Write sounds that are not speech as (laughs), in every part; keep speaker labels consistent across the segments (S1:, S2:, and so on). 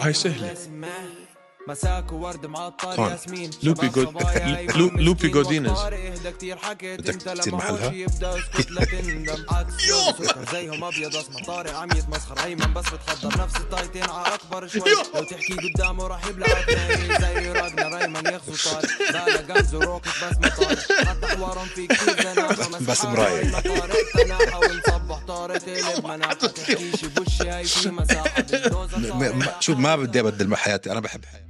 S1: هاي سهلة
S2: مساك وورد معطر
S1: طبعاً.
S2: ياسمين
S1: لوبي
S2: شباب
S1: جود-
S2: صبايا
S1: (laughs) لو-
S2: يفهم
S1: لوبي
S2: مسكين
S1: جودينز.
S2: وطاري. اهدى كتير حكيت
S1: بدك
S2: انت
S1: تصير
S2: لما
S1: محلها؟
S2: هوش يبدا
S1: (laughs)
S2: اسكت لا تندم عكس لون سكر زيهم ابيض اسمر طارق عم يتمسخر ايمن بس بتحضر نفس التايتين ع اكبر شوي لو تحكي قدامه راح يبلعك ناي زي راجنا ريمان يغزو طارق بالا جمز وروكت بس ما طارق حتى حوارهم في كتير زناقه
S1: بس مرايق.
S2: طارق انا حاول صبح طارق تقلب مناقه تحكيش بوشي هاي في مساحه بالدوزة
S3: ما- ما- شوف ما بدي ابدل مع حياتي انا بحب حياتي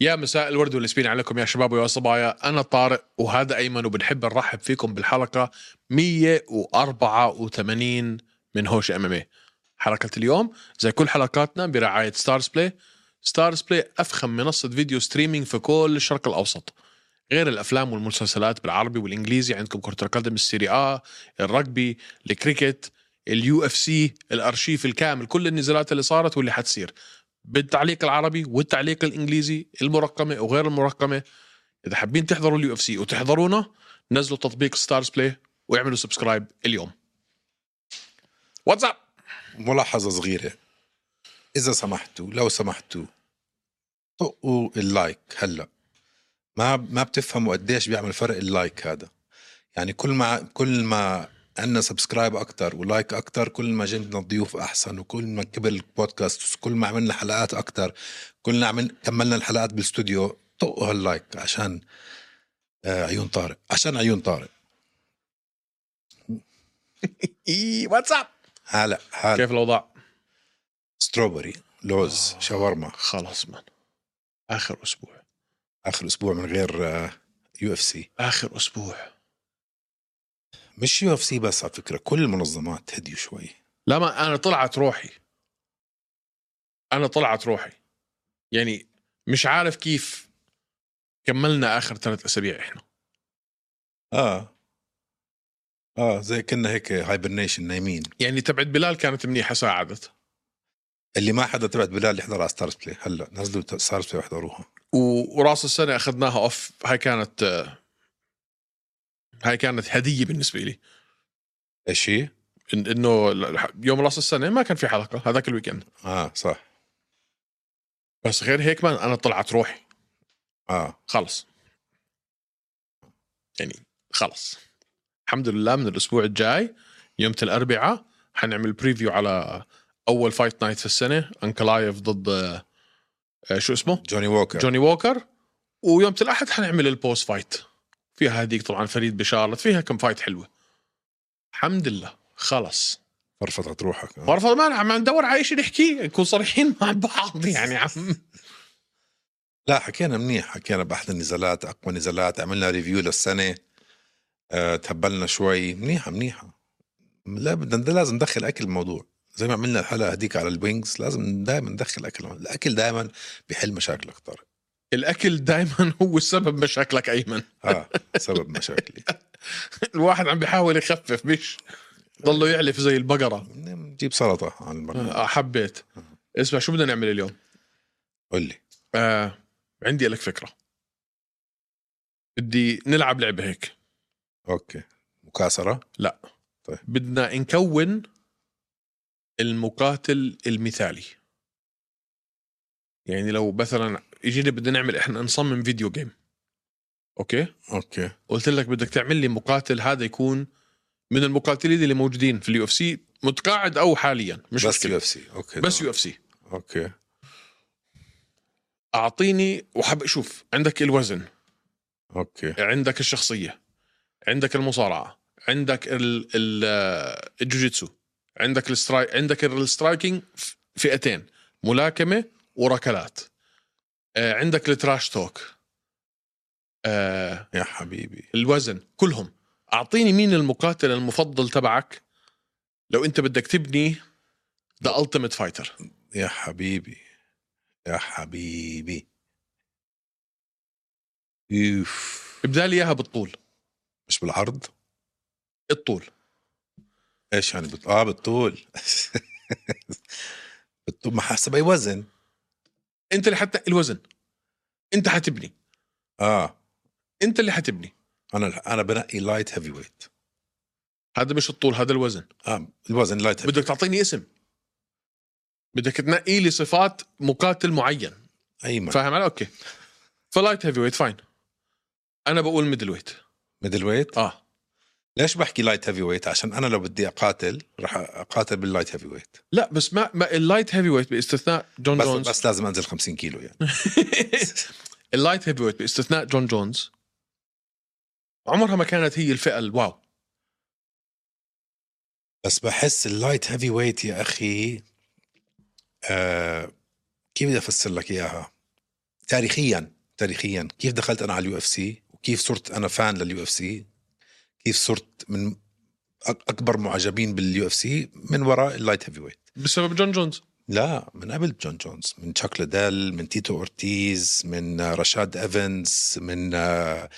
S1: يا مساء الورد والياسمين عليكم يا شباب ويا صبايا أنا طارق وهذا أيمن وبنحب نرحب فيكم بالحلقة 184 من هوش أمامي حلقة اليوم زي كل حلقاتنا برعاية ستارز بلاي ستارز بلاي أفخم منصة فيديو ستريمينج في كل الشرق الأوسط غير الافلام والمسلسلات بالعربي والانجليزي عندكم كره القدم السيري اه الرجبي الكريكت اليو اف سي الارشيف الكامل كل النزالات اللي صارت واللي حتصير بالتعليق العربي والتعليق الانجليزي المرقمه وغير المرقمه اذا حابين تحضروا اليو اف سي وتحضرونا نزلوا تطبيق ستارز بلاي واعملوا سبسكرايب اليوم واتساب
S3: ملاحظه صغيره اذا سمحتوا لو سمحتوا طقوا اللايك هلا ما ما بتفهموا قديش بيعمل فرق اللايك هذا يعني كل ما كل ما عندنا سبسكرايب اكثر ولايك اكثر كل ما جبنا ضيوف احسن وكل ما كبر البودكاست كل ما عملنا حلقات اكثر كل ما عمل كملنا الحلقات بالاستوديو طقوا هاللايك عشان آه، عيون طارق عشان عيون طارق
S1: اي واتساب
S3: هلا هلا
S1: كيف الاوضاع؟
S3: ستروبري لوز شاورما
S1: خلاص من اخر اسبوع
S3: اخر اسبوع من غير آه، يو اف سي
S1: اخر اسبوع
S3: مش يو اف سي بس على فكره كل المنظمات هديوا شوي
S1: لما انا طلعت روحي انا طلعت روحي يعني مش عارف كيف كملنا اخر ثلاث اسابيع احنا
S3: اه اه زي كنا هيك هايبرنيشن نايمين
S1: يعني تبعت بلال كانت منيحه ساعدت
S3: اللي ما حدا تبعت بلال يحضر على ستارز بلاي هلا نزلوا ستارز بلاي واحضروها
S1: و- وراس السنه اخذناها اوف هاي كانت آه، هاي كانت هديه بالنسبه لي
S3: ايش هي؟
S1: إن- انه ال- يوم راس السنه ما كان في حلقه هذاك الويكند
S3: اه صح
S1: بس غير هيك ما انا طلعت روحي
S3: اه
S1: خلص يعني خلص الحمد لله من الاسبوع الجاي يوم الاربعاء حنعمل بريفيو على اول فايت نايت في السنه انكلايف ضد آه، آه، شو اسمه
S3: جوني ووكر جون...
S1: جوني ووكر ويوم الاحد حنعمل البوست فايت فيها هذيك طبعا فريد بشارلت فيها كم فايت حلوه الحمد لله خلص
S3: فرفضت روحك آه.
S1: مرفض ما عم ندور على شيء نحكيه نكون صريحين مع بعض يعني عم
S3: لا حكينا منيح حكينا باحد النزالات اقوى نزالات عملنا ريفيو للسنه آه، تهبلنا شوي منيحه منيحه لا بدنا لازم ندخل اكل الموضوع زي ما عملنا الحلقه هديك على الوينجز لازم دائما ندخل اكل الاكل دائما بحل مشاكلك طارق
S1: الاكل دائما (laughs) هو السبب مشاكلك ايمن (laughs)
S3: اه سبب مشاكلي
S1: الواحد عم بيحاول يخفف مش ضله يعلف زي البقره
S3: نجيب سلطه على المرة
S1: آه حبيت اسمع شو بدنا نعمل اليوم
S3: قول لي
S1: آه عندي لك فكره بدي نلعب لعبه هيك
S3: اوكي مكاسره
S1: بدنا نكون المقاتل المثالي يعني لو مثلا يجينا بدنا نعمل احنا نصمم فيديو جيم اوكي
S3: اوكي
S1: قلت لك بدك تعمل لي مقاتل هذا يكون من المقاتلين اللي موجودين في اليو اف سي متقاعد او حاليا مش
S3: بس يو
S1: مشكله
S3: اف سي اوكي
S1: بس
S3: تمام.
S1: يو اف سي
S3: اوكي
S1: اعطيني وحب شوف عندك الوزن
S3: اوكي
S1: عندك الشخصيه عندك المصارعه عندك ال ال الجوجيتسو عندك الستراي عندك السترايكينج فئتين ملاكمه وركلات آه، عندك التراش توك آه،
S3: يا حبيبي
S1: الوزن كلهم اعطيني مين المقاتل المفضل تبعك لو انت بدك تبني ذا التيميت فايتر
S3: يا حبيبي يا حبيبي يوف
S1: ابدا لي اياها بالطول
S3: مش بالعرض
S1: الطول
S3: ايش يعني بت... اه بالطول (laughs) بالطول ما حسب اي وزن
S1: انت اللي حتنقي الوزن انت حتبني
S3: اه
S1: انت اللي حتبني
S3: انا انا بنقي لايت هيفي ويت
S1: هذا مش الطول هذا الوزن
S3: اه الوزن لايت هيفي
S1: بدك تعطيني اسم بدك تنقي لي صفات مقاتل معين
S3: ايمن
S1: فاهم علي اوكي فلايت هيفي ويت فاين انا بقول ميدل ويت
S3: ميدل ويت
S1: اه
S3: ليش بحكي لايت هيفي ويت عشان انا لو بدي اقاتل راح اقاتل باللايت هيفي ويت
S1: لا بس ما, ما اللايت هيفي ويت باستثناء جون
S3: بس
S1: جونز
S3: بس لازم انزل 50 كيلو يعني
S1: اللايت هيفي ويت باستثناء جون جونز عمرها ما كانت هي الفئه الواو
S3: بس بحس اللايت هيفي ويت يا اخي آه كيف بدي افسر لك اياها تاريخيا تاريخيا كيف دخلت انا على اليو اف سي وكيف صرت انا فان لليو اف سي كيف صرت من أك- اكبر معجبين باليو اف سي من وراء اللايت هيفي ويت
S1: بسبب جون جونز
S3: لا من قبل جون جونز من تشاك ليدل من تيتو اورتيز من آه، رشاد ايفنز من آه،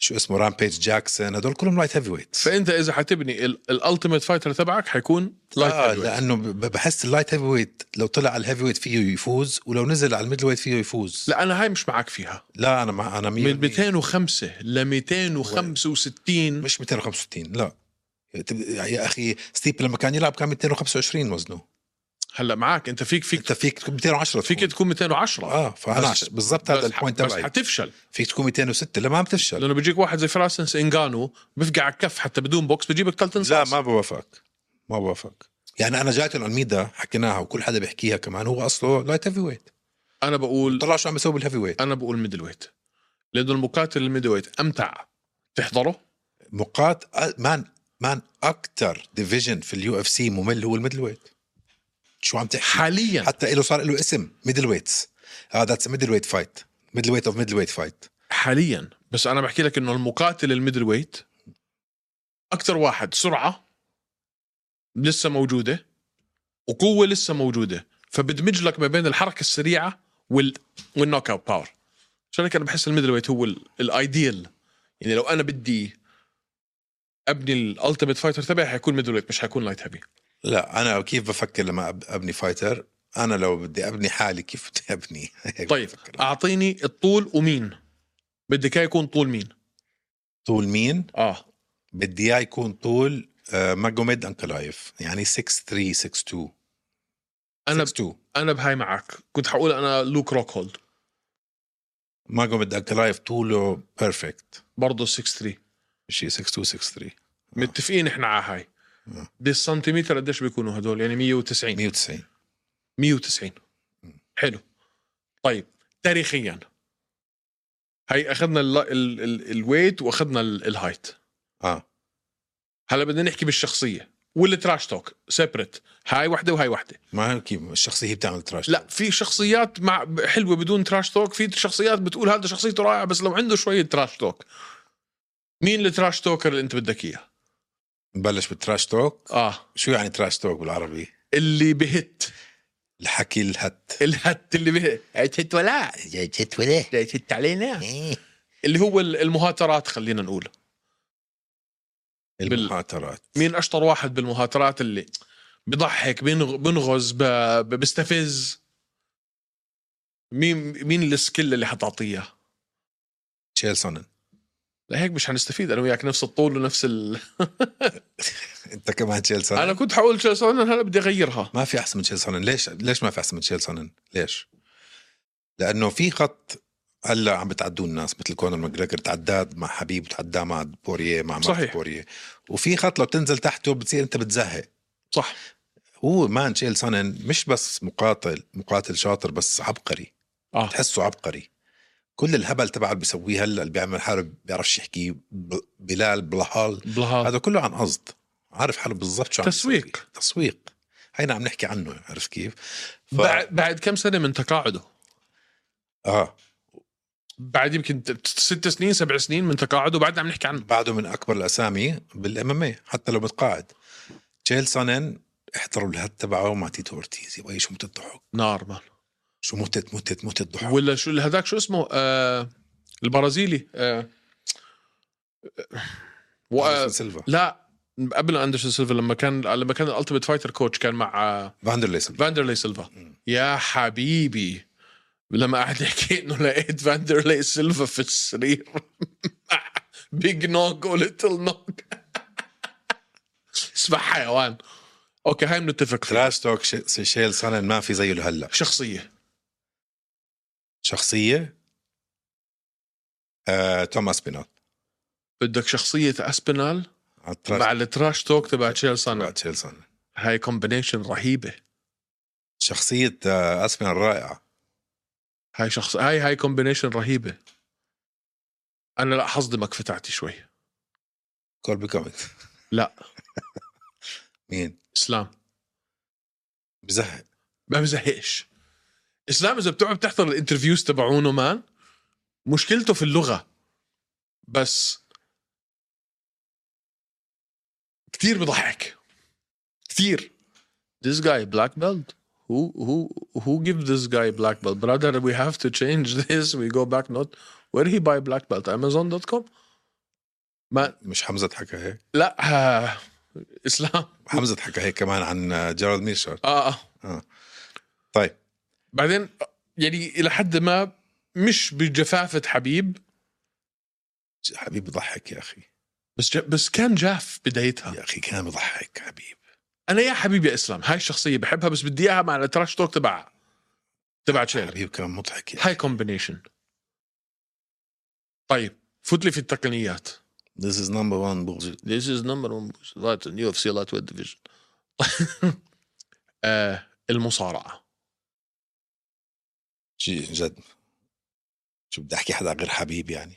S3: شو اسمه رامبيج جاكسون هدول كلهم لايت هيفي ويت
S1: فانت اذا حتبني الالتيميت فايتر تبعك حيكون لايت
S3: آه
S1: هيفي ويت
S3: لانه ب- بحس اللايت هيفي ويت لو طلع على الهيفي ويت فيه يفوز ولو نزل على الميدل ويت فيه يفوز
S1: لا انا هاي مش معك فيها
S3: لا انا مع انا 100%
S1: من 205 ل 265
S3: مش 265 لا تب- يا اخي ستيب لما كان يلعب كان 225 وزنه
S1: هلا معك انت فيك فيك
S3: انت فيك تكون 210
S1: فيك
S3: تكون.
S1: تكون 210
S3: اه فانا
S1: بس-
S3: عش- بالضبط هذا
S1: بس-
S3: البوينت
S1: بس
S3: تبعي
S1: حتفشل
S3: فيك تكون 206 لا ما عم تفشل
S1: لانه بيجيك واحد زي فراسنس انجانو بيفقع على الكف حتى بدون بوكس بيجيبك ثلاث
S3: لا ما بوافقك ما بوافقك يعني انا جايته العميدة حكيناها وكل حدا بيحكيها كمان هو اصله لايت هيفي ويت
S1: انا بقول
S3: طلع شو عم يسوي بالهيفي ويت
S1: انا بقول ميدل ويت لانه المقاتل الميدل ويت امتع تحضره
S3: مقات أ- مان مان اكثر ديفيجن في اليو اف سي ممل هو الميدل ويت شو عم تحكي
S1: حاليا
S3: حتى له صار له اسم ميدل ويتس اه ذاتس ميدل ويت فايت ميدل ويت اوف ميدل ويت فايت
S1: حاليا بس انا بحكي لك انه المقاتل الميدل ويت اكثر واحد سرعه لسه موجوده وقوه لسه موجوده فبدمج لك ما بين الحركه السريعه وال والنوك اوت باور عشان هيك انا بحس الميدل ويت هو ال- الايديال يعني لو انا بدي ابني الالتيميت فايتر تبعي حيكون ميدل ويت مش حيكون لايت هيفي
S3: لا انا كيف بفكر لما أب- ابني فايتر انا لو بدي ابني حالي كيف بدي ابني (laughs) هيك
S1: طيب
S3: بفكر.
S1: اعطيني الطول ومين بدك اياه يكون طول مين
S3: طول مين
S1: اه
S3: بدي اياه يكون طول آه، ماجوميد انكلايف يعني 6'3 6'2
S1: انا
S3: 6'2
S1: انا بهاي معك كنت حقول انا لوك روكهولد
S3: ماجوميد انكلايف طوله بيرفكت
S1: برضه 6 3
S3: شيء 6'2 6'3
S1: متفقين احنا على هاي
S3: آه.
S1: دي السنتيمتر قديش بيكونوا هدول يعني 190
S3: 190
S1: 190 حلو طيب تاريخيا هي اخذنا ال- ال- ال- الويت واخذنا ال- الهايت
S3: اه
S1: هلا بدنا نحكي بالشخصيه والتراش توك سيبريت هاي وحده وهاي وحده
S3: ما هي كيف الشخصيه هي بتعمل تراش
S1: لا في شخصيات مع حلوه بدون تراش توك في شخصيات بتقول هذا شخصيته رائعه بس لو عنده شويه تراش توك مين التراش توكر اللي انت بدك اياه
S3: نبلش بالتراش توك
S1: اه
S3: شو يعني تراش توك بالعربي
S1: اللي بهت
S3: الحكي الهت
S1: الهت اللي به هت ولا
S3: جيت (laughs) ولا
S1: هت علينا اللي هو ال- المهاترات خلينا نقول
S3: المخاطرات
S1: مين اشطر واحد بالمهاترات اللي بضحك بينغ- بنغز ب- ب- بستفز مين مين السكيل اللي حتعطيه
S3: تشيل سونن
S1: لهيك مش حنستفيد انا وياك نفس الطول ونفس ال...
S3: انت كمان تشيل سونن
S1: انا كنت حقول تشيلسي هلا بدي اغيرها
S3: ما في احسن من تشيل سونن ليش ليش ما في احسن من تشيل سونن ليش لانه في خط هلا عم بتعدوه الناس مثل كونر ماجريجر تعداد مع حبيب تعداه مع بوريه مع
S1: صحيح.
S3: صحيح بوريه وفي خط لو بتنزل تحته بتصير انت بتزهق
S1: صح
S3: هو مان تشيل سونن مش بس مقاتل مقاتل شاطر بس عبقري
S1: اه
S3: تحسه عبقري كل الهبل تبعه اللي بيسويه هلا اللي بيعمل حاله بيعرفش يحكي ب- بلال بلهال
S1: بلها
S3: هذا كله عن قصد عارف حاله بالضبط شو عم
S1: تسويق.
S3: يسوي. تسويق هينا عم نحكي عنه عرفت كيف ف...
S1: بعد بعد كم سنه من تقاعده
S3: اه
S1: بعد يمكن ت- ست سنين سبع سنين من تقاعده بعدنا عم نحكي عنه
S3: بعده من اكبر الاسامي بالام ام حتى لو متقاعد تشيل سانن احضروا الهد تبعه مع تيتو اورتيز يا بيي شو متت ضحك
S1: نار مان
S3: شو متت متت متت ضحك
S1: ولا شو اللي هذاك شو اسمه آه البرازيلي آه و... آه،
S3: أندرسون سيلفا
S1: لا قبل اندرسون سيلفا لما كان لما كان الالتيميت فايتر كوتش كان مع آه،
S3: فاندرلي سيلفا
S1: فاندرلي سيلفا يا حبيبي (laughs) لما قعد يحكي انه لقيت فاندرلي سيلفا في السرير بيج نوك وليتل نوك (laughs) اسمع حيوان اوكي هاي بنتفق فيها.
S3: تراش توك ش- سيشيل سانن ما في زيه لهلا
S1: شخصيه
S3: شخصيه آه، توم اسبينال
S1: بدك شخصيه اسبينال
S3: على التراش
S1: مع التراش توك تبع تشيل
S3: تبع
S1: سانر
S3: تشيل سانن
S1: هاي كومبينيشن رهيبه
S3: شخصيه آه، اسبينال رائعه
S1: هاي شخص هاي هاي كومبينيشن رهيبه انا لا حصدمك فتعتي شوي
S3: كولبي كومينز
S1: لا.
S3: مين
S1: اسلام
S3: بزهق
S1: ما بزهقش اسلام اذا بتقعد تحضر الانترفيوز تبعونه مان مشكلته في اللغه بس كتير بضحك كتير this guy black belt who who who give this guy black belt brother we have to change (laughs) this we go back not where he buy black belt amazon.com ما
S3: مش حمزه حكى هيك
S1: لا (laughs) آه، اسلام
S3: حمزه حكى هيك كمان عن آه، جيرالد ميشر
S1: اه اه
S3: طيب
S1: بعدين يعني الى حد ما مش بجفافه حبيب
S3: حبيب بضحك يا اخي
S1: بس ج... بس كان جاف بدايتها
S3: يا اخي كان بضحك حبيب
S1: انا يا حبيبي يا اسلام هاي الشخصيه بحبها بس بدي اياها مع التراش توك تبعها تبع تشيل
S3: حبيب كان مضحك يا أخي.
S1: هاي كومبينيشن طيب فوت لي في التقنيات
S3: This is number one bullshit
S1: This is number one light in UFC lightweight division. (laughs) آه المصارعه
S3: شيء جد شو بدي احكي حدا غير حبيب يعني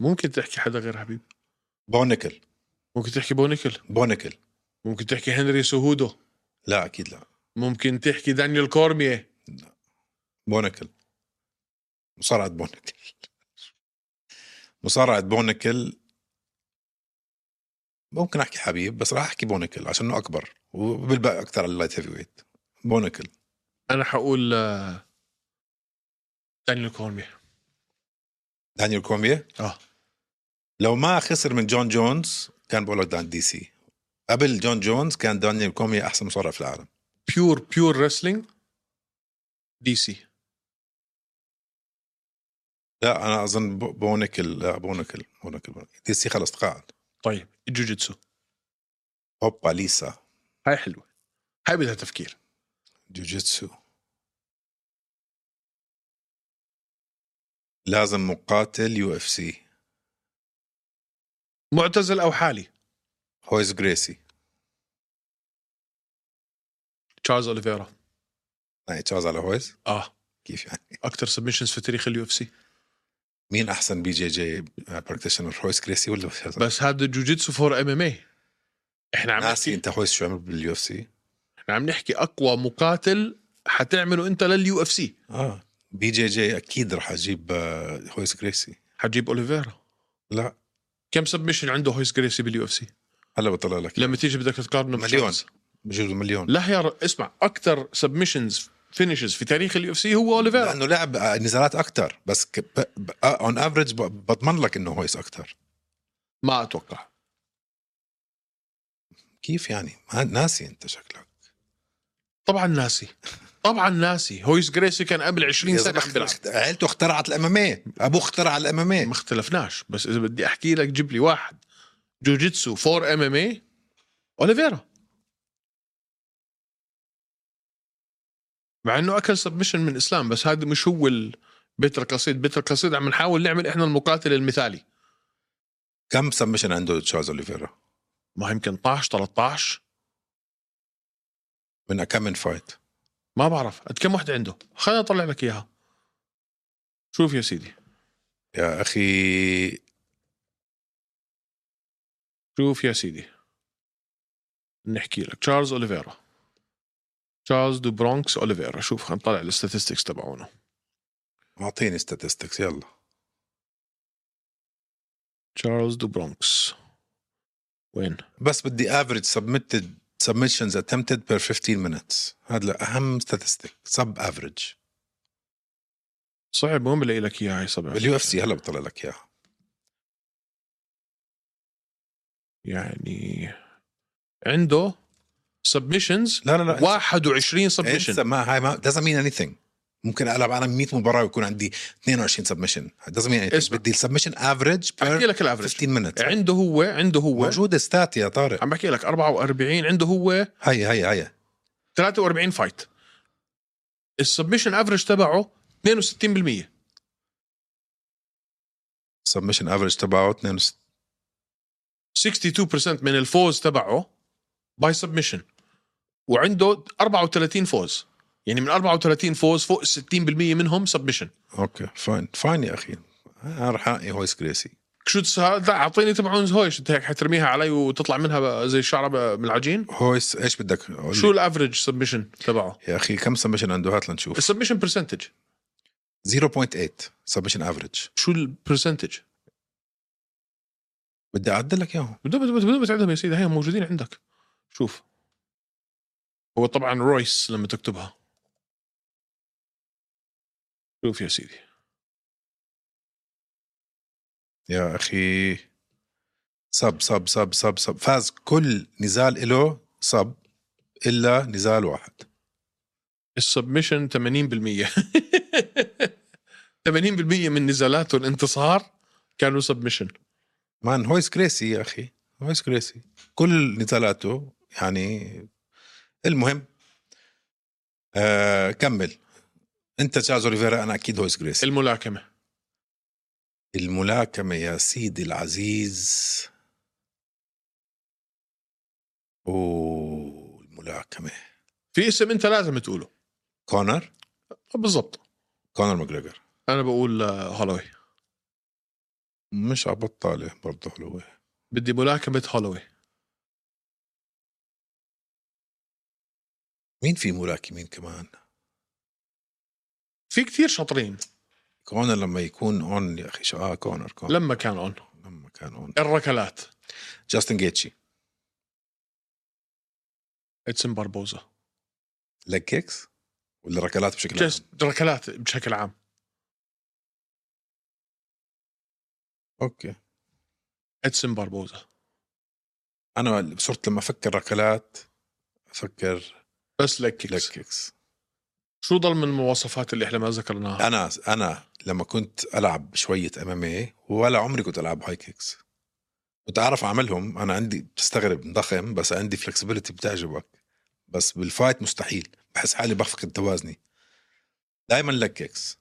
S1: ممكن تحكي حدا غير حبيب
S3: بونيكل
S1: ممكن تحكي بونيكل
S3: بونيكل
S1: ممكن تحكي هنري سهودو
S3: لا اكيد لا
S1: ممكن تحكي دانيال كورميه
S3: بونكل مصارعة بونكل مصارعة بونكل ممكن احكي حبيب بس راح احكي بونكل عشانه اكبر وبالباقي اكثر على اللايت هيفي ويت بونكل
S1: انا حقول آه، دانيال كورميا
S3: دانيال كومبيا
S1: اه
S3: لو ما خسر من جون جونز كان بقول لك دان دي سي قبل جون جونز كان دانيال كوميا احسن مصارع في العالم
S1: بيور بيور ريسلينج دي سي
S3: لا انا اظن بو- بونكل لا بونكل بونكل, بونكل. دي سي خلص تقاعد
S1: طيب الجوجيتسو
S3: هوبا ليسا
S1: هاي حلوه هاي بدها تفكير
S3: جوجيتسو لازم مقاتل يو اف سي
S1: معتزل او حالي
S3: هويز جريسي
S1: تشارلز اوليفيرا
S3: يعني تشاز على هويز
S1: اه
S3: كيف يعني
S1: اكثر سبمشنز في تاريخ اليو اف سي
S3: مين احسن بي جي جي براكتيشنر هويز جريسي ولا هويز؟
S1: بس هذا الجوجيتسو فور ام ام اي احنا عم
S3: ناسي
S1: نحكي
S3: انت هويز شو عمل باليو اف سي
S1: احنا عم نحكي اقوى مقاتل حتعمله انت لليو اف سي
S3: اه بي جي جي اكيد رح اجيب آه، هويز جريسي
S1: حتجيب اوليفيرا
S3: لا
S1: كم سبمشن عنده هويس جريسي باليو اف سي
S3: هلا بطلع لك
S1: لما تيجي بدك تقارنه
S3: مليون.
S1: بتشارلز.
S3: بجوز مليون
S1: لا يا ر... اسمع اكثر سبمشنز فينيشز في تاريخ اليو اف سي هو اوليفيرا
S3: لانه لعب آه، نزالات اكثر بس اون افريج بضمن لك انه هويز اكثر
S1: ما اتوقع
S3: كيف يعني؟ ما- ناسي انت شكلك
S1: طبعا ناسي طبعا ناسي هويس جريسي كان قبل 20
S3: يا
S1: سنه
S3: زلمة
S1: عم بيلعب
S3: اخت- عيلته اخترعت الاماميه ابوه اخترع
S1: ما
S3: الاماميه
S1: اختلفناش بس اذا بدي احكي لك جيب لي واحد جوجيتسو 4 ام ام اي اوليفيرا مع انه اكل سبمشن من اسلام بس هذا مش هو ال... بيتر قصيد بيتر قصيد عم نحاول نعمل احنا المقاتل المثالي
S3: كم سبمشن عنده تشارلز اوليفيرا
S1: ما يمكن 12 13
S3: من كم من فايت
S1: ما بعرف قد كم واحدة عنده خليني اطلع لك اياها شوف يا سيدي
S3: يا اخي
S1: شوف يا سيدي نحكي لك تشارلز اوليفيرا تشارلز دو برونكس اوليفيرا شوف خلينا نطلع الاستاتستكس تبعونه
S3: اعطيني ستاتستكس يلا
S1: تشارلز دو برونكس وين
S3: بس بدي افريج سبمتد submissions attempted per 15 minutes هذا اهم statistic sub average
S1: صعب وين بلاقي لك اياها هي صبع
S3: باليو اف سي هلا بطلع لك اياها
S1: يعني عنده سبمشنز
S3: لا لا لا
S1: 21
S3: انسى
S1: سبمشن
S3: ما هاي ما doesn't mean anything ممكن العب انا 100 مباراه ويكون عندي 22 سبمشن دازنت يعني
S1: اسمع.
S3: بدي السبمشن افريج
S1: احكي لك الافرج
S3: 15 مينتس
S1: عنده هو عنده هو
S3: موجوده ستات يا طارق
S1: عم بحكي لك 44 عنده هو
S3: هي هي هي
S1: 43 فايت السبمشن افرج تبعه 62%
S3: سبمشن افريج تبعه 62
S1: 62% من الفوز تبعه باي سبمشن وعنده 34 فوز يعني من 34 فوز فوق ال 60% منهم سبمشن
S3: اوكي فاين فاين يا اخي انا رح انقي هويس جريسي
S1: شو تس- هذا اعطيني تبعون هويش انت هيك حترميها علي وتطلع منها بقى زي الشعره من العجين
S3: هويس ايش بدك أقول
S1: شو
S3: لك؟
S1: الافرج سبمشن تبعه
S3: يا اخي كم سبمشن عنده هات لنشوف
S1: السبمشن برسنتج
S3: 0.8 سبمشن افريج
S1: شو البرسنتج
S3: بدي اعدل لك اياهم
S1: بدون بدون بدون ما تعدهم يا سيدي هي موجودين عندك شوف هو طبعا رويس لما تكتبها شوف يا سيدي
S3: يا اخي سب سب سب سب سب فاز كل نزال له سب الا نزال واحد
S1: السبمشن (laughs) 80% 80% من نزالاته الانتصار كانوا سبمشن
S3: مان هويس كريسي يا اخي هويس كريسي كل نزالاته يعني المهم آه كمل انت تشازو ريفيرا انا اكيد هويس كريسي
S1: الملاكمه
S3: الملاكمه يا سيدي العزيز اوه الملاكمه
S1: في اسم انت لازم تقوله
S3: كونر
S1: بالضبط
S3: كونر ماجريجر
S1: انا بقول آه، هولوي
S3: مش عبطاله برضه حلوه
S1: بدي ملاكمه هولوي
S3: مين في ملاكمين كمان؟
S1: في كثير شاطرين
S3: كونر لما يكون اون يا اخي شو اه كونر كونر
S1: لما كان اون
S3: لما كان اون
S1: الركلات
S3: جاستن جيتشي
S1: اتسم باربوزا
S3: ليج كيكس ولا ركلات بشكل عام؟
S1: جس ركلات بشكل عام
S3: اوكي
S1: اتسم باربوزا
S3: انا صرت لما افكر ركلات افكر
S1: بس لك
S3: ليج
S1: كيكس
S3: كيكس
S1: شو ضل من المواصفات اللي احنا ما ذكرناها
S3: انا انا لما كنت العب شويه ام ام ولا عمري كنت العب هاي كيكس كنت اعرف اعملهم انا عندي بتستغرب ضخم بس عندي فلكسبيتي بتعجبك بس بالفايت مستحيل بحس حالي بفقد توازني دائما لك كيكس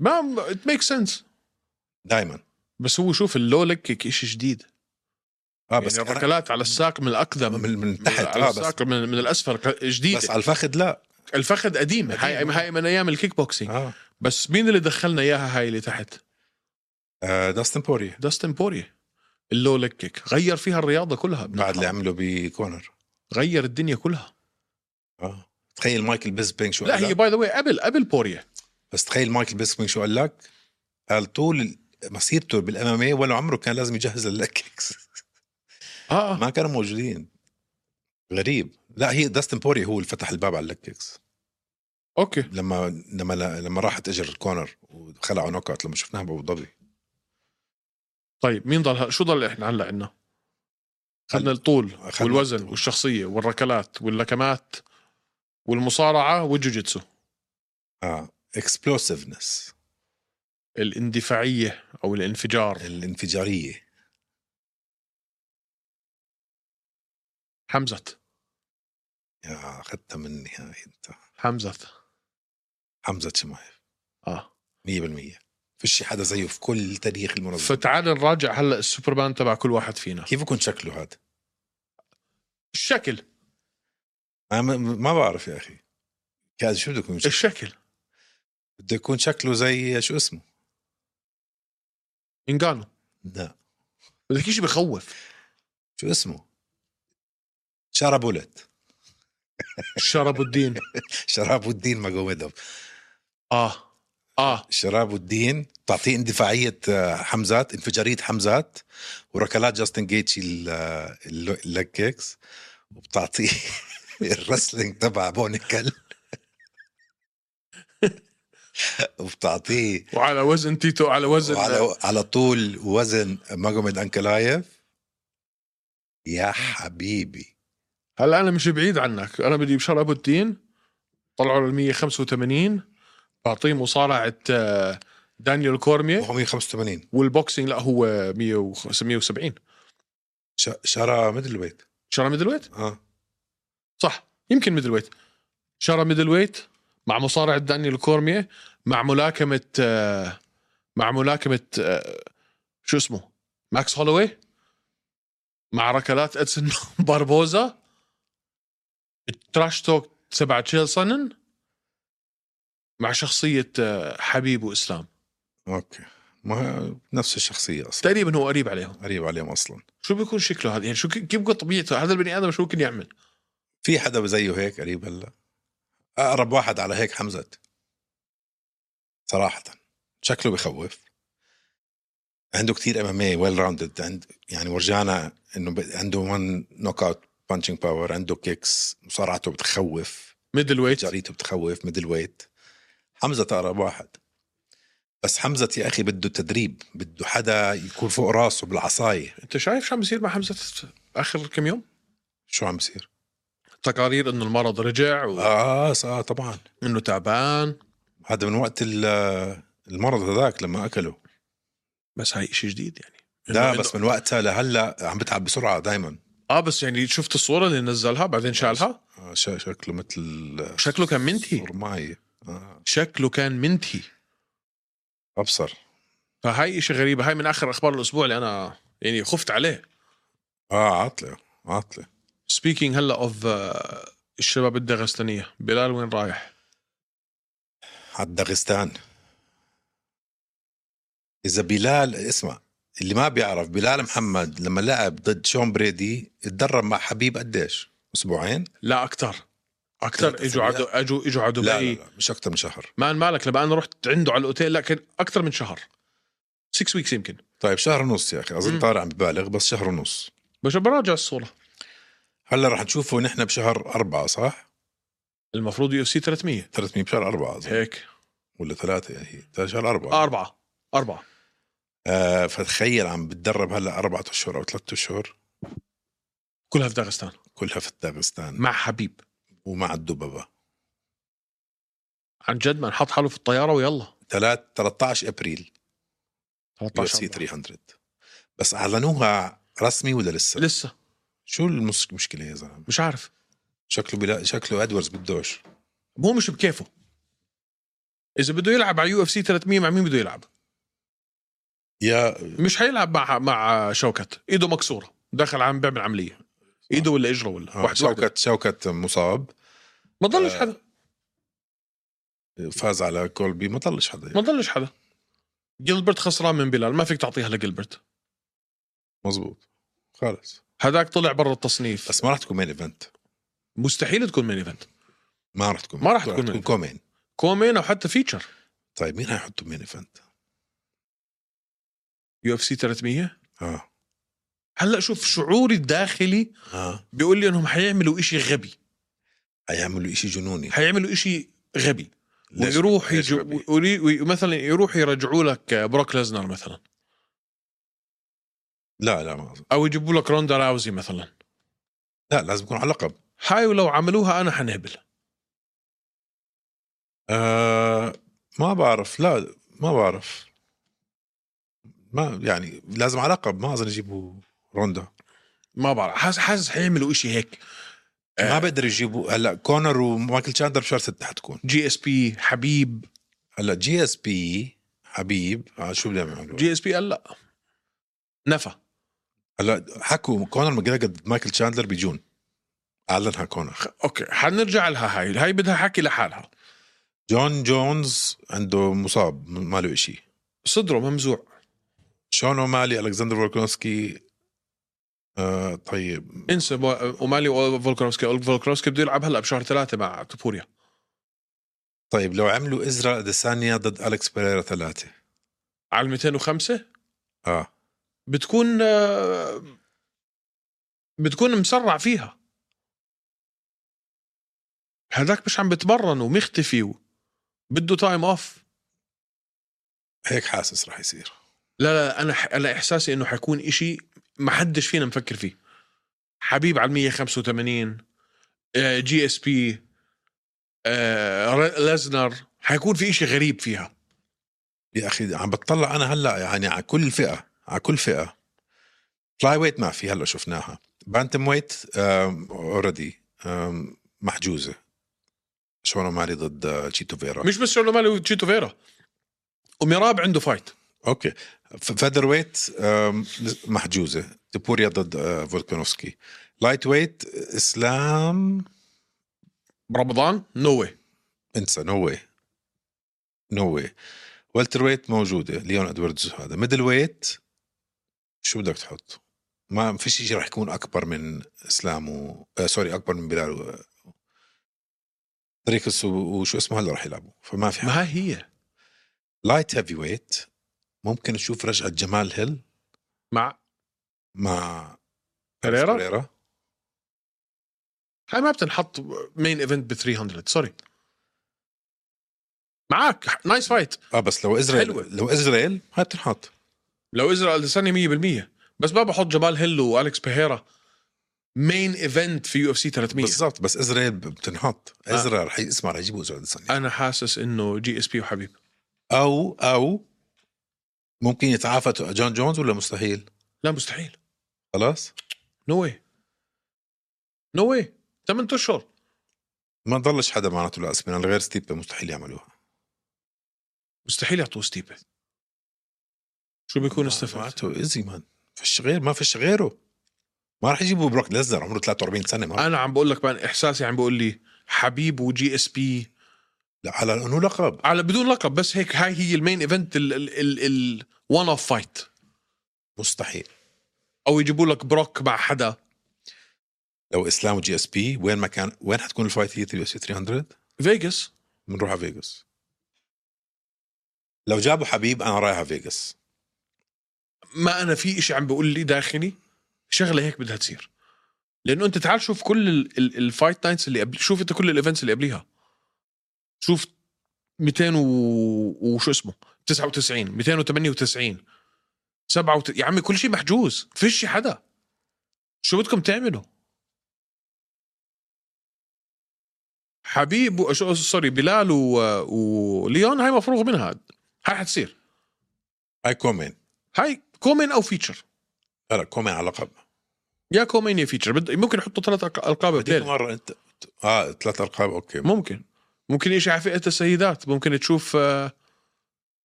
S1: ما ات ميك سنس
S3: دائما
S1: بس هو شوف اللو لك شيء جديد
S3: اه
S1: بس
S3: بس
S1: يعني
S3: أنا-
S1: الركلات على الساق من الاقدم
S3: من, من
S1: من-
S3: تحت
S1: على
S3: اه بس
S1: الساق من, من الاسفل جديده
S3: بس على الفخذ لا
S1: الفخذ قديم هاي
S3: قديم.
S1: هاي من ايام الكيك بوكسينج
S3: اه
S1: بس مين اللي دخلنا اياها هاي اللي تحت
S3: آه، داستن بوري
S1: داستن بوري اللو لك كيك غير فيها الرياضه كلها
S3: بعد اللي عمله بكونر
S1: غير الدنيا كلها
S3: اه تخيل مايكل بيسبينج شو
S1: لا
S3: قال
S1: هي
S3: لك
S1: باي ذا واي قبل قبل بوريا
S3: بس تخيل مايكل بيسبينج شو قال لك قال طول مسيرته بالامامية ولا عمره كان لازم يجهز للكيكس
S1: اه
S3: ما كانوا موجودين غريب لا هي داستن بوري هو اللي فتح الباب على الكيكس
S1: اوكي
S3: لما لما لما راحت اجر كونر وخلعوا نوك اوت لما شفناها بابو ظبي
S1: طيب مين ضل شو ضل احنا هلا عندنا؟ خدنا الطول
S3: أخذنا
S1: والوزن
S3: الطول.
S1: والشخصيه والركلات واللكمات والمصارعه والجوجيتسو
S3: اه اكسبلوسيفنس
S1: الاندفاعيه او الانفجار
S3: الانفجاريه
S1: حمزه
S3: يا اخذتها مني هاي انت
S1: حمزه
S3: حمزه شمايف
S1: اه
S3: 100% فيش حدا زيه في كل تاريخ المنظمه
S1: فتعال نراجع هلا السوبرمان تبع كل واحد فينا
S3: كيف بكون شكله هذا؟
S1: الشكل
S3: أنا ما- ما بعرف يا اخي كاد شو بده يكون شكله؟
S1: الشكل
S3: بده يكون شكله زي شو اسمه؟
S1: انجانو
S3: لا
S1: بدك شيء بخوف
S3: شو اسمه؟ شارا بولت
S1: شرب الدين
S3: (laughs) شراب الدين ماجوميدوف
S1: اه اه
S3: شراب الدين تعطيه اندفاعيه آه، حمزات انفجاريه حمزات وركلات جاستن جيتشي ال- آه، الل- الليج كيكس وبتعطيه (laughs) الرسلينج تبع بونيكل (laughs) وبتعطيه
S1: وعلى وزن تيتو على وزن
S3: وعلى على طول وزن ماجوميد انكلايف يا حبيبي
S1: هلا انا مش بعيد عنك انا بدي بشرب الدين طلعوا لل 185 بعطيه مصارعه آه، دانيال كورميه
S3: 185
S1: والبوكسينج لا هو 170
S3: ش- شارع مثل البيت
S1: شرى ميدل ويت
S3: اه
S1: صح يمكن ميدل ويت شرى ميدل ويت مع مصارعة دانيال كورميه مع ملاكمة آه، مع ملاكمة آه، شو اسمه ماكس هولوي مع ركلات ادسون (laughs) باربوزا التراش توك تبع تشيل سنن مع شخصية آه، حبيب وإسلام
S3: اوكي ما نفس الشخصيه اصلا
S1: تقريبا هو قريب عليهم
S3: قريب عليهم اصلا
S1: شو بيكون شكله هذا يعني شو كيف بيكون طبيعته هذا البني آدم شو ممكن يعمل
S3: في حدا زيه هيك قريب هلا اقرب واحد على هيك حمزه صراحه شكله بخوف عنده كتير ام ام اي ويل راوندد عند يعني ورجانا انه ب- عنده وان نوك اوت بانشنج باور عنده كيكس مصارعته بتخوف
S1: ميدل ويت
S3: جريته بتخوف ميدل ويت حمزه اقرب واحد بس حمزه يا اخي بده تدريب بده حدا يكون فوق راسه بالعصايه
S1: انت شايف شو عم بيصير مع حمزة آخر كم يوم
S3: شو عم بصير
S1: تقارير انه المرض رجع وانه
S3: اه اه طبعا
S1: تعبان
S3: هذا من وقت ال- المرض هذاك لما اكله
S1: بس هاي شيء جديد يعني
S3: لا
S1: إنه-
S3: بس
S1: إنه-
S3: من وقتها لهلا عم بتعب بسرعه دائما
S1: اه بس يعني شفت الصوره اللي نزلها بعدين شالها
S3: آه، شكله مثل
S1: شكله كان منتهي
S3: رماي آه.
S1: شكله كان منتهي
S3: ابصر
S1: فهاي شيء غريبه هاي من اخر اخبار الاسبوع اللي انا يعني خفت عليه
S3: اه عطله عطله
S1: سبيكينج هلا اوف الشباب الدغستانيه بلال وين رايح؟
S3: على داغستان اذا بلال اسمع اللي ما بيعرف بلال محمد لما لعب ضد شون بريدي اتدرب مع حبيب قديش؟ اسبوعين؟
S1: لا اكثر اكثر
S3: ثلاثة
S1: اجوا عدو
S3: أسابيع.
S1: اجوا اجوا على دبي
S3: لا, لا لا مش اكثر من شهر
S1: مان مالك لما انا رحت عنده على الاوتيل لا كان اكثر من شهر 6 ويكس يمكن
S3: طيب شهر ونص يا اخي
S1: مم.
S3: اظن طارق عم ببالغ بس شهر ونص
S1: بس براجع الصوره
S3: هلا رح نشوفه نحن بشهر أربعة صح؟
S1: المفروض يو سي 300
S3: 300 بشهر أربعة أظن
S1: هيك
S3: ولا ثلاثة هي ثلاث شهر أربعة
S1: آه، أربعة أربعة
S3: آه فتخيل عم بتدرب هلا أربعة أشهر أو ثلاثة أشهر
S1: كلها في داغستان
S3: كلها في داغستان
S1: مع حبيب
S3: ومع الدببة
S1: عن جد ما نحط حاله في الطيارة ويلا
S3: ثلاث 13 أبريل يو
S1: 13
S3: سي
S1: أربعة.
S3: 300 بس أعلنوها رسمي ولا لسه؟
S1: لسه
S3: شو المس- المشكلة يا زلمة؟
S1: مش عارف
S3: شكله بلا... شكله ادوردز بدوش
S1: هو مش بكيفه إذا بده يلعب على يو اف سي 300 مع مين بده يلعب؟
S3: يا آه،
S1: مش حيلعب مع مع شوكت إيده مكسورة دخل عم بيعمل عملية إيده ولا إجره ولا
S3: آه،
S1: واحد واحد
S3: شوكت شوكت مصاب
S1: ما ضلش
S3: آه.
S1: حدا
S3: فاز على كولبي ما ضلش حدا
S1: ما
S3: يعني.
S1: ضلش حدا جيلبرت خسران من بلال ما فيك تعطيها لجيلبرت
S3: مزبوط خالص
S1: هذاك طلع برا التصنيف
S3: بس ما راح تكون مين ايفنت
S1: مستحيل تكون مين ايفنت
S3: ما راح تكون
S1: ما راح تكون
S3: تكون
S1: main event.
S3: كومين
S1: كومين او حتى فيتشر
S3: طيب مين حيحطوا مين ايفنت؟
S1: يو اف سي 300
S3: اه
S1: هلا شوف شعوري الداخلي
S3: اه
S1: بيقول لي انهم حيعملوا إشي غبي
S3: حيعملوا إشي جنوني
S1: حيعملوا إشي غبي
S3: ليش-
S1: ويروح
S3: ليش
S1: يجو
S3: غبي؟
S1: وي- وي- مثلا يروح يرجعوا لك بروك ليزنر مثلا
S3: لا لا ما أظن.
S1: او يجيبوا لك روندا راوزي مثلا
S3: لا لازم يكون على لقب
S1: هاي ولو عملوها انا حنهبل
S3: آه ما بعرف لا ما بعرف ما يعني لازم على لقب ما اظن يجيبوا روندا
S1: ما بعرف حاسس حاسس حيعملوا إشي هيك آه.
S3: ما بقدر يجيبوا هلا كونر ومايكل تشاندر بشهر ستة حتكون
S1: جي اس بي حبيب
S3: هلا جي اس بي حبيب آه شو بدهم يعملوا
S1: جي اس بي قال لا نفى
S3: هلا حكوا كونر ماجريجر ضد مايكل تشاندلر بجون اعلنها كونر
S1: خ- اوكي حنرجع لها هاي هاي بدها حكي لحالها
S3: جون جونز عنده مصاب ما له شيء
S1: صدره ممزوع
S3: شون اومالي الكسندر فولكنوسكي آه طيب
S1: انسى بو- اومالي وفولكروفسكي فولكروفسكي بده يلعب هلا بشهر ثلاثه مع توبوريا
S3: طيب لو عملوا ازرا اديسانيا ضد الكس بيريرا ثلاثه
S1: على 205
S3: اه
S1: بتكون آه، بتكون مسرع فيها هذاك مش عم بتمرن ومختفي و- بده تايم اوف
S3: هيك حاسس رح يصير
S1: لا لا انا ح- انا احساسي انه حيكون إشي ما حدش فينا مفكر فيه حبيب على 185 آه، جي اس بي آه لازنر حيكون في إشي غريب فيها
S3: يا اخي عم بتطلع انا هلا يعني على كل فئه على كل فئه فلاي ويت ما في هلا شفناها بانتم ويت اوريدي محجوزه شون ماري ضد آه، تشيتو فيرا
S1: مش بس شون مالي وتشيتو فيرا وميراب عنده فايت
S3: اوكي ف- فيذر ويت آم، محجوزه تبوريا ضد آه، فولكانوفسكي لايت ويت اسلام
S1: برمضان نو واي
S3: انسى نو واي نو واي والتر ويت موجوده ليون ادواردز هذا ميدل ويت شو بدك تحط؟ ما فيش شيء رح يكون اكبر من اسلام و آه سوري اكبر من بلال و... تريكس و... وشو اسمه هلا رح يلعبوا فما في حل.
S1: ما هي
S3: لايت هيفي ويت ممكن نشوف رجعه جمال هيل
S1: مع
S3: مع
S1: Pereira؟
S3: بيريرا
S1: هاي ما بتنحط مين ايفنت ب 300 سوري معك نايس فايت
S3: اه بس لو اسرائيل
S1: حلوة.
S3: لو اسرائيل هاي بتنحط
S1: لو اسرائيل لساني 100% بس ما بحط جمال هيل والكس بيهيرا مين ايفنت في يو اف سي 300
S3: بالضبط بس اسرائيل بتنحط
S1: آه.
S3: اسرائيل رح اسمع رح يجيبوا اسرائيل السنة.
S1: انا حاسس انه جي اس بي وحبيب
S3: او او ممكن يتعافى جون جونز ولا مستحيل
S1: لا مستحيل
S3: خلاص
S1: نو واي نو واي 8 اشهر
S3: ما ضلش حدا معناته لا اسبينال يعني غير ستيبا مستحيل يعملوها
S1: مستحيل يعطوه ستيبه شو بيكون استفاد
S3: معناته ايزي مان آه، فيش غير ما فيش غيره ما رح يجيبوا بروك ليزنر عمره 43 سنه ما
S1: انا عم بقول لك بقى احساسي عم بقول لي حبيب وجي اس بي
S3: لا، على انه لقب
S1: على بدون لقب بس هيك هاي هي المين ايفنت ال ال ال ال وان اوف فايت
S3: مستحيل
S1: او يجيبوا لك بروك مع حدا
S3: لو اسلام وجي اس بي وين ما كان وين حتكون الفايت هي تبع 300
S1: فيجاس
S3: بنروح على فيغاس لو جابوا حبيب انا رايح على فيغاس
S1: ما انا في إشي عم بقول لي داخلي شغله هيك بدها تصير لانه انت تعال شوف كل ال- ال- الفايت نايتس اللي قبل شوف انت كل الايفنتس اللي قبليها شوف 200 و... وشو اسمه 99 298 سبعة وت... يا عمي كل شيء محجوز فيش شي حدا شو بدكم تعملوا حبيب و... شو- سوري بلال و... وليون هاي مفروغ منها هاي حتصير
S3: هاي كومين
S1: هاي كومين او فيتشر
S3: لا لا كومين على لقب
S1: يا كومين يا فيتشر بد... ممكن يحطوا ثلاث ألق- القاب
S3: هذيك
S1: بليله
S3: مره انت اه ثلاث القاب اوكي
S1: ممكن ممكن يجي على فئه السيدات ممكن تشوف آه،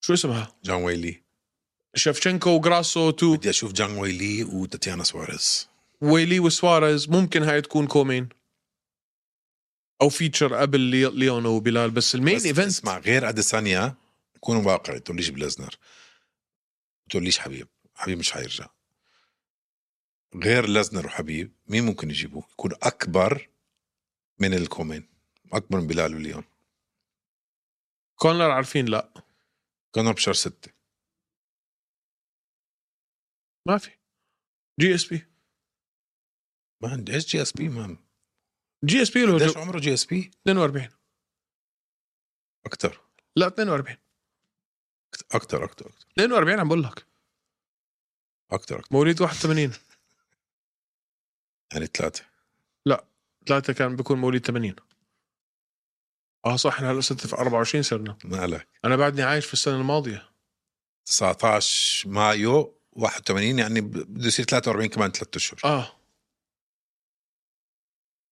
S1: شو اسمها
S3: جان ويلي
S1: شفشنكو وجراسو تو
S3: بدي اشوف جان ويلي وتاتيانا سواريز
S1: ويلي وسواريز ممكن هاي تكون كومين او فيتشر قبل لي... ليون وبلال بس المين
S3: بس
S1: ايفنت
S3: اسمع غير اديسانيا كونوا واقعي تقوليش بليزنر تقوليش حبيب حبيب مش حيرجع غير لازنر وحبيب مين ممكن يجيبوه يكون اكبر من الكومين اكبر من بلال وليون
S1: كونر عارفين لا
S3: كانوا بشهر ستة
S1: ما في جي اس بي
S3: ما عندي ايش جي اس بي مان
S1: جي اس بي له
S3: قديش
S1: جو-
S3: عمره جي اس بي
S1: 42
S3: اكثر
S1: لا 42
S3: اكثر اكثر
S1: 42 عم بقول لك
S3: اكثر
S1: مواليد 81
S3: يعني ثلاثة
S1: ثلاثة كان بيكون مواليد 80 اه صح احنا هلا ستة في 24 صرنا
S3: ما لك
S1: انا بعدني عايش في السنه الماضيه
S3: 19 مايو 81 يعني ب- بده يصير 43 كمان ثلاث اشهر
S1: اه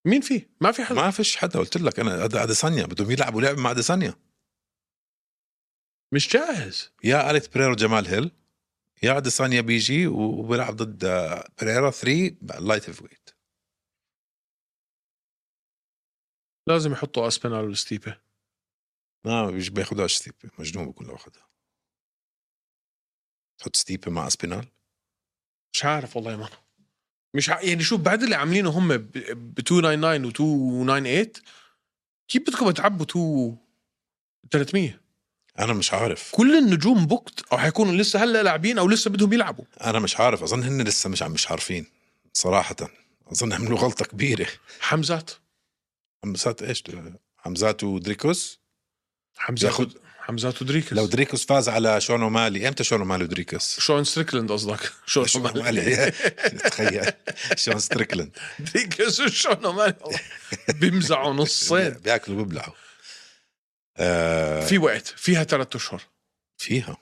S1: مين في ما في حدا
S3: ما فيش حدا قلت لك انا هذا اديسانيا بدهم يلعبوا لعب مع اديسانيا
S1: مش جاهز
S3: يا اليكس بريرا وجمال هيل يا اديسانيا بيجي و- وبيلعب ضد آه، بريرا 3 لايت هيف ويت
S1: لازم يحطوا اسبينال والستيبه
S3: ما بيج- بياخدوها ستيبي مجنون بكون لو اخذها تحط ستيبي مع اسبينال
S1: مش عارف والله يا مان مش ع... يعني شوف بعد اللي عاملينه هم ب, ب 299 و 298 كيف بدكم تعبوا 2 300
S3: انا مش عارف
S1: كل النجوم بوكت او حيكونوا لسه هلا لاعبين او لسه بدهم يلعبوا
S3: انا مش عارف اظن هن لسه مش عم مش عارفين صراحه اظن عملوا غلطه كبيره
S1: حمزات
S3: حمزات ايش حمزات ودريكوس
S1: حمزات
S3: ياخد-
S1: حمزات ودريكس
S3: لو دريكوس فاز على شونو مالي امتى شونو مالي ودريكوس
S1: شون ستريكلند قصدك شون
S3: شون
S1: مالي.
S3: مالي (laughs) تخيل شون ستريكلند
S1: ديكس وشون مالي بيمزعوا نصين
S3: بياكلوا وبيبلعوا آه
S1: في وقت فيها ثلاثة اشهر
S3: فيها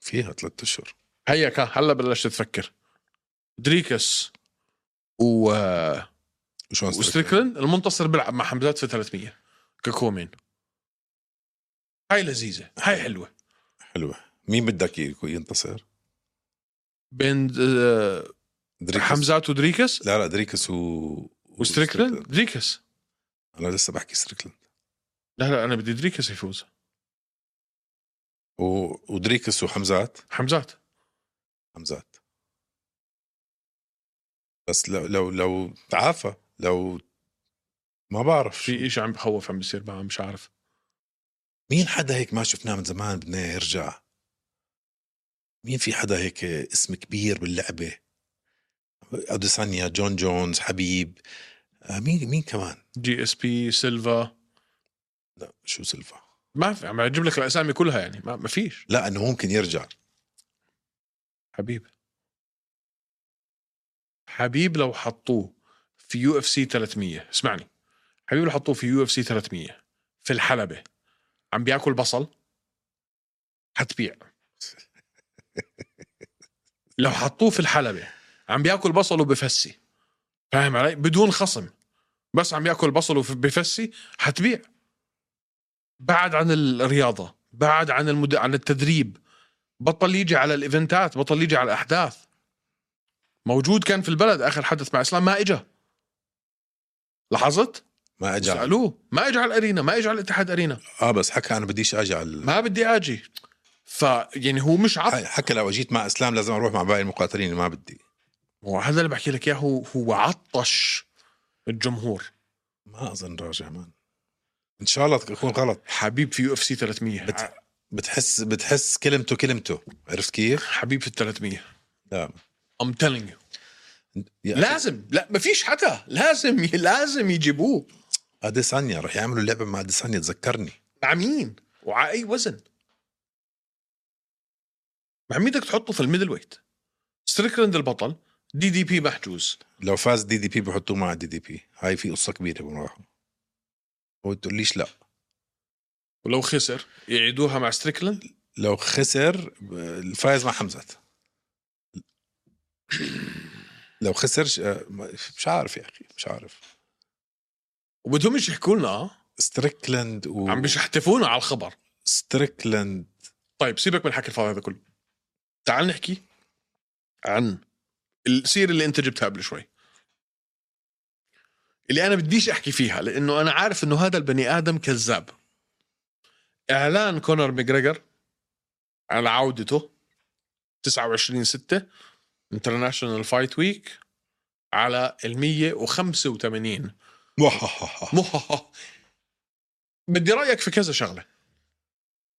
S3: فيها ثلاثة اشهر
S1: هيا كان هلا بلشت تفكر دريكس و
S3: وشون ستريكلاند؟
S1: وستريكلن المنتصر بيلعب مع حمزات في 300 ككومين هاي لذيذه هاي حلوه
S3: حلوه مين بدك يكون ينتصر؟
S1: بين آه،
S3: دريكس
S1: حمزات ودريكس
S3: لا لا دريكس و
S1: وستريكلن دريكس
S3: انا لسه بحكي ستريكلاند
S1: لا لا انا بدي دريكس يفوز
S3: و... ودريكس وحمزات
S1: حمزات
S3: حمزات بس لو لو لو تعافى لو ما بعرف شو.
S1: في إشي عم بخوف عم بيصير معه مش عارف
S3: مين حدا هيك ما شفناه من زمان بدنا إياه يرجع مين في حدا هيك اسم كبير باللعبة أديسانيا جون جونز حبيب آه، مين مين كمان
S1: جي اس بي سيلفا
S3: لا شو سيلفا
S1: ما في عم اجيب لك الاسامي كلها يعني ما, ما فيش
S3: لا انه هو ممكن يرجع
S1: حبيب حبيب لو حطوه في يو اف سي 300 اسمعني حبيب لو حطوه في يو اف سي 300 في الحلبة عم بياكل بصل حتبيع لو حطوه في الحلبة عم بياكل بصل وبفسي فاهم علي بدون خصم بس عم بياكل بصل وبفسي حتبيع بعد عن الرياضة بعد عن المد... عن التدريب بطل يجي على الايفنتات بطل يجي على الاحداث موجود كان في البلد اخر حدث مع اسلام ما اجى لاحظت؟
S3: ما اجى على-
S1: سالوه ما اجى على الارينا ما اجى على الاتحاد ارينا
S3: اه بس حكى انا بديش اجي على
S1: ما بدي اجي ف يعني هو مش عط
S3: حكى لو اجيت مع اسلام لازم اروح مع باقي المقاتلين اللي ما بدي
S1: هو هذا اللي بحكي لك اياه هو هو عطش الجمهور
S3: ما اظن راجع مان ان شاء الله تكون غلط
S1: حبيب في يو اف سي 300
S3: بت-
S1: ع-
S3: بتحس بتحس كلمته كلمته عرفت كيف؟
S1: حبيب في ال 300
S3: لا
S1: ام تيلينج يو
S3: نعم. يا أخي،
S1: لازم لا ما فيش حدا لازم لازم يجيبوه
S3: اديسانيا رح يعملوا لعبه مع اديسانيا تذكرني
S1: مع مين؟ وعلى اي وزن؟ مع مين بدك تحطه في الميدل ويت؟ ستريكلاند البطل دي دي بي محجوز
S3: لو فاز دي دي بي بحطوه مع دي دي بي هاي في قصه كبيره بنروحوا هو تقول ليش لا
S1: ولو خسر يعيدوها مع ستريكلاند
S3: لو خسر ب- الفايز مع حمزات لو خسر ش- آه، ما- مش عارف يا اخي مش عارف
S1: وبدهمش يحكوا لنا اه
S3: ستريكلاند و
S1: عم بيشحتفونا على الخبر
S3: ستريكلاند
S1: طيب سيبك من حكي الفاضي هذا كله تعال نحكي عن السيره اللي انت جبتها قبل شوي اللي انا بديش احكي فيها لانه انا عارف انه هذا البني ادم كذاب اعلان كونر ماجريجر على عودته 29 6 انترناشونال فايت ويك على ال 185 مو- (laughs) بدي رايك في كذا شغله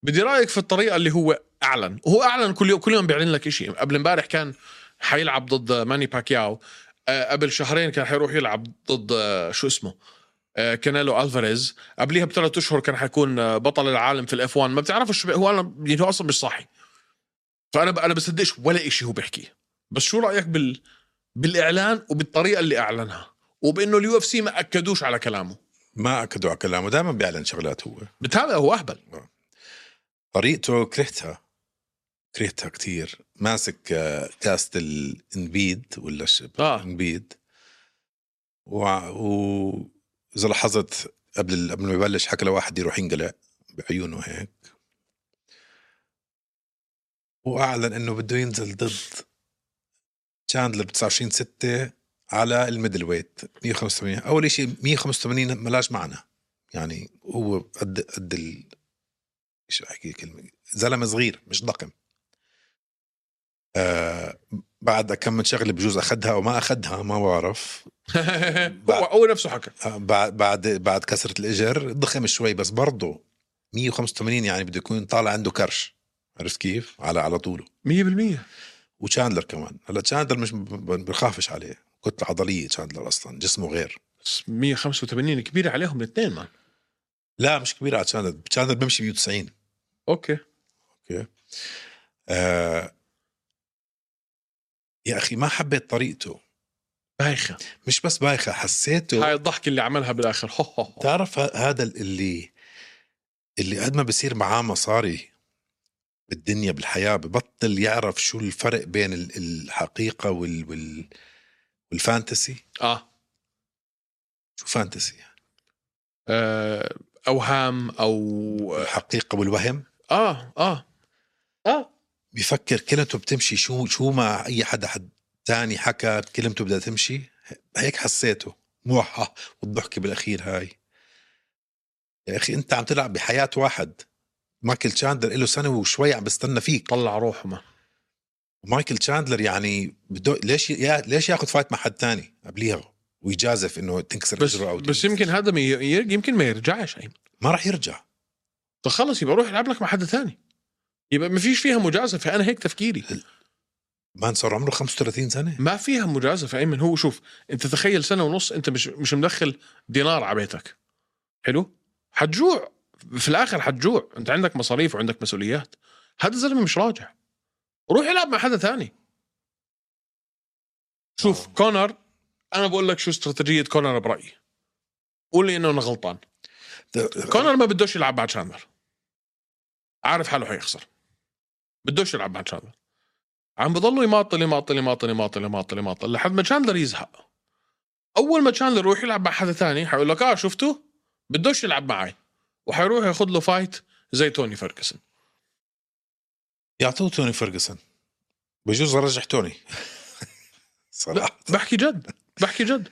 S1: بدي رايك في الطريقه اللي هو اعلن هو اعلن كل يوم كل يوم بيعلن لك شيء قبل امبارح كان حيلعب ضد ماني باكياو آه، قبل شهرين كان حيروح يلعب ضد آه، شو اسمه آه، كانيلو الفاريز قبليها بثلاث اشهر كان حيكون آه، بطل العالم في الاف 1 ما بتعرفش هو انا يعني هو اصلا مش صاحي فانا ب- انا بصدقش ولا شيء هو بيحكيه بس شو رايك بال بالاعلان وبالطريقه اللي اعلنها وبانه اليو اف سي ما اكدوش على كلامه
S3: (laughs) ما اكدوا على كلامه دائما بيعلن شغلات هو
S1: بتابع هو اهبل
S3: طريقته كرهتها كرهتها كتير ماسك آه، كاسة الانبيد ولا شب
S1: آه.
S3: انبيد وع- و اذا لاحظت قبل قبل ما يبلش حكى لواحد يروح ينقلع بعيونه هيك واعلن انه بده ينزل ضد تشاندلر ب 29 6 على الميدل ويت 185 اول شيء 185 ملاش معنى يعني هو قد قد ال... شو احكي كلمه زلمه صغير مش ضخم آه بعد كم من شغله بجوز اخذها وما اخذها ما بعرف
S1: (laughs) هو هو نفسه حكى
S3: آه، بعد بعد بعد كسره الاجر ضخم شوي بس برضه 185 يعني بده يكون طالع عنده كرش عرفت كيف؟ على على طوله
S1: 100%
S3: وتشاندلر كمان هلا تشاندلر مش ب- بخافش عليه كتله عضليه تشاندلر اصلا جسمه غير
S1: بس 185 كبيره عليهم الاثنين مان
S3: لا مش كبير على تشاندلر تشاندلر بيمشي 190
S1: اوكي
S3: آه يا اخي ما حبيت طريقته
S1: بايخه
S3: مش بس بايخه حسيته
S1: هاي الضحكه اللي عملها بالاخر هو هو هو.
S3: تعرف ه- هذا اللي اللي قد ما بصير معاه مصاري بالدنيا بالحياة ببطل يعرف شو الفرق بين ال- الحقيقة وال... وال... والفانتسي
S1: اه,
S3: شو فانتسي يعني
S1: آه اوهام او
S3: الحقيقة والوهم
S1: اه اه اه
S3: بيفكر كلمته بتمشي شو شو ما اي حدا حد تاني حكى كلمته بدها تمشي هيك حسيته موحة والضحكة بالاخير هاي يا اخي انت عم تلعب بحياة واحد مايكل تشاندلر له سنة وشوي عم بستنى فيك
S1: طلع روحه ما
S3: مايكل تشاندلر يعني بده ليش يا ليش ياخذ فايت مع حد تاني قبليها ويجازف انه تنكسر
S1: بس
S3: رجله او
S1: بس
S3: تنكسر-
S1: يمكن هذا ما ي- يمكن ما يرجعش ايمن
S3: ما راح يرجع
S1: طب خلص يبقى روح العب لك مع حد ثاني يبقى ما فيش فيها مجازفه انا هيك تفكيري
S3: مان صار عمره 35 سنه
S1: ما فيها مجازفه ايمن هو شوف انت تخيل سنه ونص انت مش مش مدخل دينار على بيتك حلو حتجوع في الاخر حتجوع انت عندك مصاريف وعندك مسؤوليات هذا الزلمه مش راجع روح العب مع حدا ثاني شوف
S3: آه.
S1: كونر انا بقول لك شو استراتيجيه كونر برايي قول لي انه انا غلطان كونر ما بدوش يلعب مع تشاندلر عارف حاله حيخسر بدوش يلعب مع تشاندلر عم بضلوا يماطل يماطل يماطل يماطل يماطل يماطل لحد ما تشاندلر يزهق اول ما تشاندلر يروح يلعب مع حدا تاني حيقول لك اه شفته بدوش يلعب معي وحيروح ياخذ له فايت زي توني فيرجسون
S3: يعطوه توني فيرجسون بجوز رجح توني (laughs) صراحه
S1: بحكي جد بحكي جد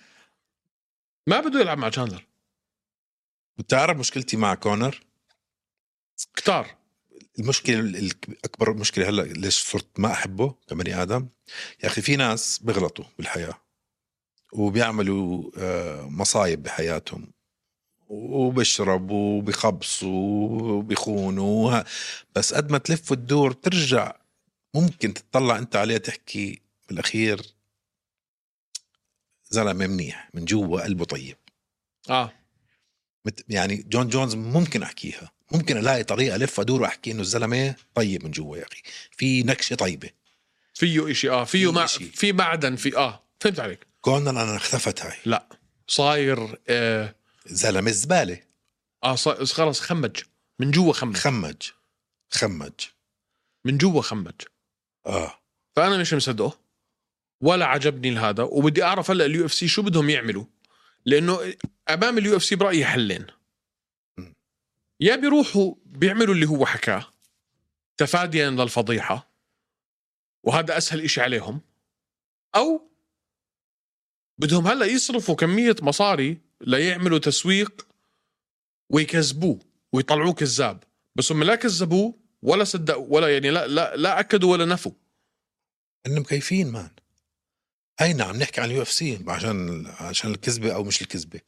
S1: ما بده يلعب مع تشاندلر
S3: بتعرف مشكلتي مع كونر
S1: كتار
S3: المشكله ال- ال- اكبر مشكله هلا ليش صرت ما احبه كبني ادم يا اخي في ناس بيغلطوا بالحياه وبيعملوا آه، مصايب بحياتهم وبيشربوا وبيخبصوا وبيخونوا وه- بس قد ما تلف وتدور ترجع ممكن تطلع انت عليه تحكي بالاخير زلمه منيح من جوا قلبه طيب
S1: اه
S3: مت- يعني جون جونز ممكن احكيها ممكن الاقي طريقه الف ادور واحكي انه الزلمه طيب من جوا يا اخي في نكشه طيبه
S1: فيه إشي اه فيه
S3: في
S1: مع...
S3: إشي.
S1: في معدن في اه فهمت عليك
S3: كونر انا اختفت هاي
S1: لا صاير آه
S3: زلمه زباله
S1: اه صا- خلص خمج من جوا خمج
S3: خمج خمج
S1: من جوا خمج
S3: اه
S1: فانا مش مصدقه ولا عجبني هذا وبدي اعرف هلا اليو اف سي شو بدهم يعملوا لانه امام اليو اف سي برايي حلين يا بيروحوا بيعملوا اللي هو حكاه تفاديا للفضيحه وهذا اسهل إشي عليهم او بدهم هلا يصرفوا كميه مصاري ليعملوا تسويق ويكذبوه ويطلعوه كذاب بس هم لا كذبوه ولا صدقوا ولا يعني لا لا لا اكدوا ولا نفوا
S3: انهم مكيفين مان هينا عم نحكي عن اليو اف سي عشان عشان الكذبه او مش الكذبه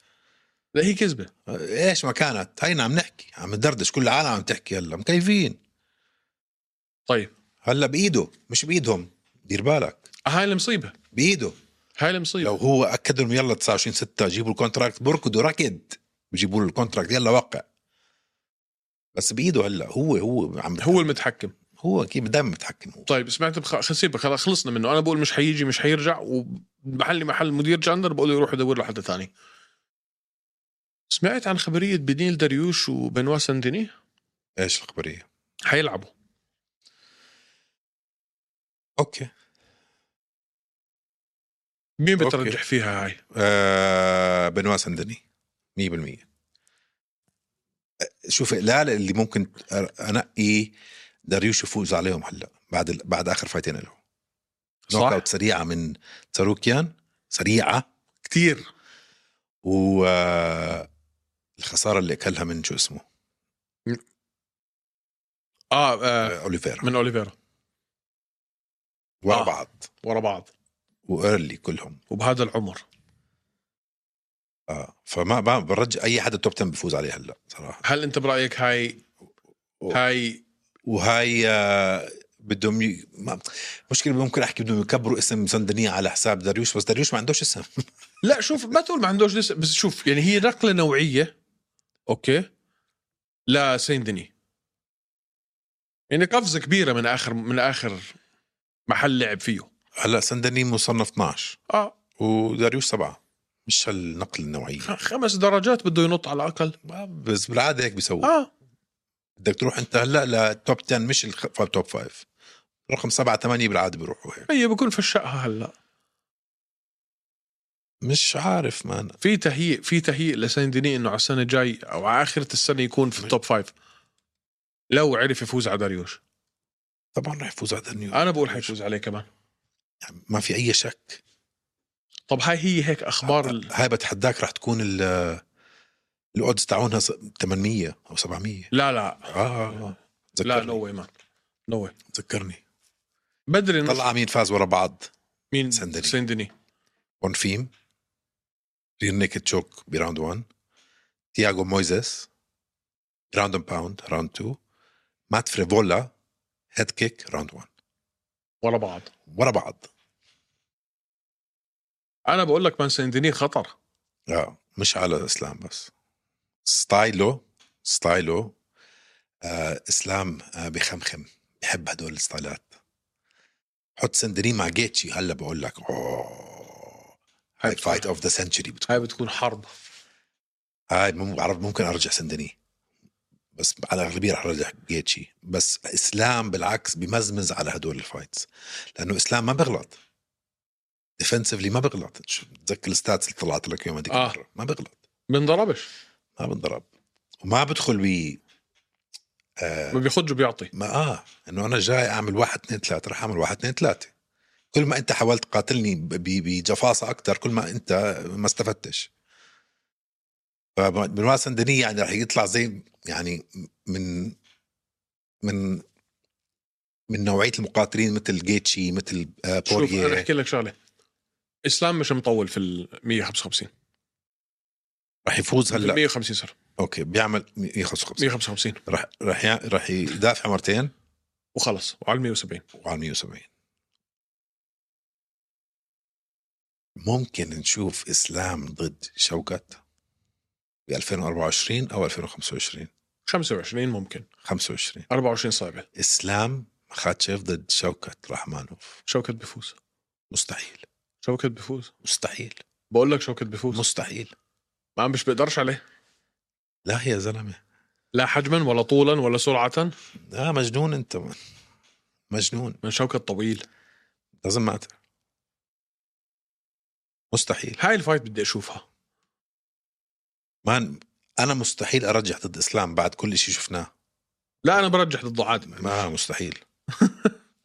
S1: لا هي كذبه
S3: آه، ايش ما كانت هينا عم نحكي عم ندردش كل العالم عم تحكي هلا مكيفين
S1: طيب
S3: هلا بايده مش بايدهم دير بالك
S1: هاي المصيبه
S3: بايده
S1: هاي المصيبه
S3: لو هو اكد لهم يلا 29 6 جيبوا الكونتراكت بركضوا ركض بجيبوا له الكونتراكت يلا وقع بس بايده هلا هو هو عم بت-
S1: هو المتحكم
S3: هو اكيد دائما متحكم هو
S1: طيب سمعت بخ... خسيبه خلاص خلصنا منه انا بقول مش حيجي مش حيرجع ومحلي محل مدير جندر بقول له يروح يدور له حدا ثاني سمعت عن خبريه بنيل دريوش وبنوا سندني
S3: ايش الخبريه
S1: حيلعبوا
S3: اوكي
S1: مين
S3: أوكي.
S1: بترجح فيها هاي
S3: آه بنوا سندني 100% آه، شوف لا لا، اللي ممكن أر- انقي داريوش يفوز عليهم هلا بعد ال- بعد اخر فايتين له نوك
S1: صح
S3: اوت سريعه من تساروكيان سريعه
S1: كثير
S3: و آه، الخساره اللي اكلها من شو اسمه
S1: آه, اه
S3: آه، اوليفيرا
S1: من اوليفيرا
S3: ورا
S1: آه.
S3: آه. بعض
S1: ورا بعض
S3: وايرلي كلهم
S1: وبهذا العمر
S3: اه فما ما برجع اي حدا توب 10 بفوز عليه هلا صراحه
S1: هل انت برايك هاي هاي
S3: وهاي آه، بدهم ي... ما... مشكله ممكن احكي بدهم يكبروا اسم سندنية على حساب داريوش بس داريوش ما عندوش اسم
S1: لا شوف ما تقول ما عندوش لسه بس شوف يعني هي نقله نوعيه اوكي لسين دني يعني قفزه كبيره من اخر من اخر محل لعب فيه
S3: هلا سندني مصنف 12
S1: اه
S3: وداريوش سبعه مش هالنقل النوعيه
S1: خ- خمس درجات بده ينط على الاقل
S3: ما- بس بالعاده هيك بيسووا
S1: اه
S3: بدك تروح انت هلا للتوب 10 مش التوب 5 رقم سبعة ثمانية بالعاده بيروحوا هيك
S1: هي طيب، بكون فشقها هلا
S3: مش عارف مان
S1: في تهيئ في تهيئ لسان ديني انه على السنه الجاي او على اخره السنه يكون في التوب فايف لو عرف يفوز على داريوش
S3: طبعا رح يفوز على دانيو
S1: انا بقول حيفوز عليه كمان
S3: ما في اي شك
S1: طب هاي هي هيك اخبار ال...
S3: هاي بتحداك رح تكون ال- الاودز تاعونها س- 800 او 700
S1: لا لا
S3: اه آه،
S1: لا
S3: تذكرني
S1: نو واي مان نو واي
S3: تذكرني
S1: بدري نص
S3: طلع مين فاز ورا بعض
S1: مين
S3: سندني.
S1: سان ديني
S3: بونفيم رير نيكد تشوك براوند 1 تياغو مويزيس راوند اند باوند راوند 2 مات فريفولا هيد كيك راوند 1
S1: ورا بعض
S3: ورا بعض
S1: انا بقول لك مان سان ديني خطر
S3: اه مش على اسلام بس ستايلو ستايلو آه اسلام آه بخمخم بحب هدول الستايلات حط سندري مع جيتشي هلا بقول لك اوه هاي فايت اوف ذا سنتشري بتكون
S1: هاي بتكون حرب
S3: هاي مم- بعرف ممكن ارجع سندني بس على الاغلبيه رح ارجع جيتشي بس اسلام بالعكس بمزمز على هدول الفايتس لانه اسلام ما بغلط ديفنسفلي ما بغلط شو- بتذكر الستاتس اللي طلعت لك يوم هذيك
S1: آه.
S3: المره ما بغلط
S1: بنضربش
S3: ما بنضرب وما بدخل ب
S1: ما بيخج وبيعطي
S3: ما اه انه انا جاي اعمل واحد اثنين ثلاثه رح اعمل واحد اثنين ثلاثه كل ما انت حاولت قاتلني ب- ب- بجفاصه اكثر كل ما انت ما استفدتش فبنواع سندني يعني رح يطلع زي يعني من من من نوعيه المقاتلين مثل جيتشي مثل آه،
S1: شوف انا
S3: بوريه
S1: احكي لك شغله اسلام مش مطول في ال 155
S3: رح يفوز
S1: هلا
S3: هلا
S1: 150 صار
S3: اوكي بيعمل 155
S1: 155
S3: رح رح يع- رح يدافع مرتين
S1: وخلص وعلى 170
S3: وعلى 170 ممكن نشوف اسلام ضد شوكت ب 2024 او 2025
S1: 25 ممكن
S3: 25
S1: 24 صعبه
S3: اسلام مخاتشيف ضد شوكت رحمانوف
S1: شوكت بيفوز
S3: مستحيل
S1: شوكت بيفوز
S3: مستحيل
S1: بقول لك شوكت بيفوز
S3: مستحيل
S1: ما مش بقدرش عليه
S3: لا يا زلمه
S1: لا حجما ولا طولا ولا سرعه
S3: لا مجنون انت من. مجنون
S1: من شوكت طويل
S3: لازم ما أت- مستحيل
S1: هاي الفايت بدي اشوفها
S3: مان انا مستحيل ارجح ضد اسلام بعد كل شيء شفناه
S1: لا انا برجح ضد عادل
S3: ما مستحيل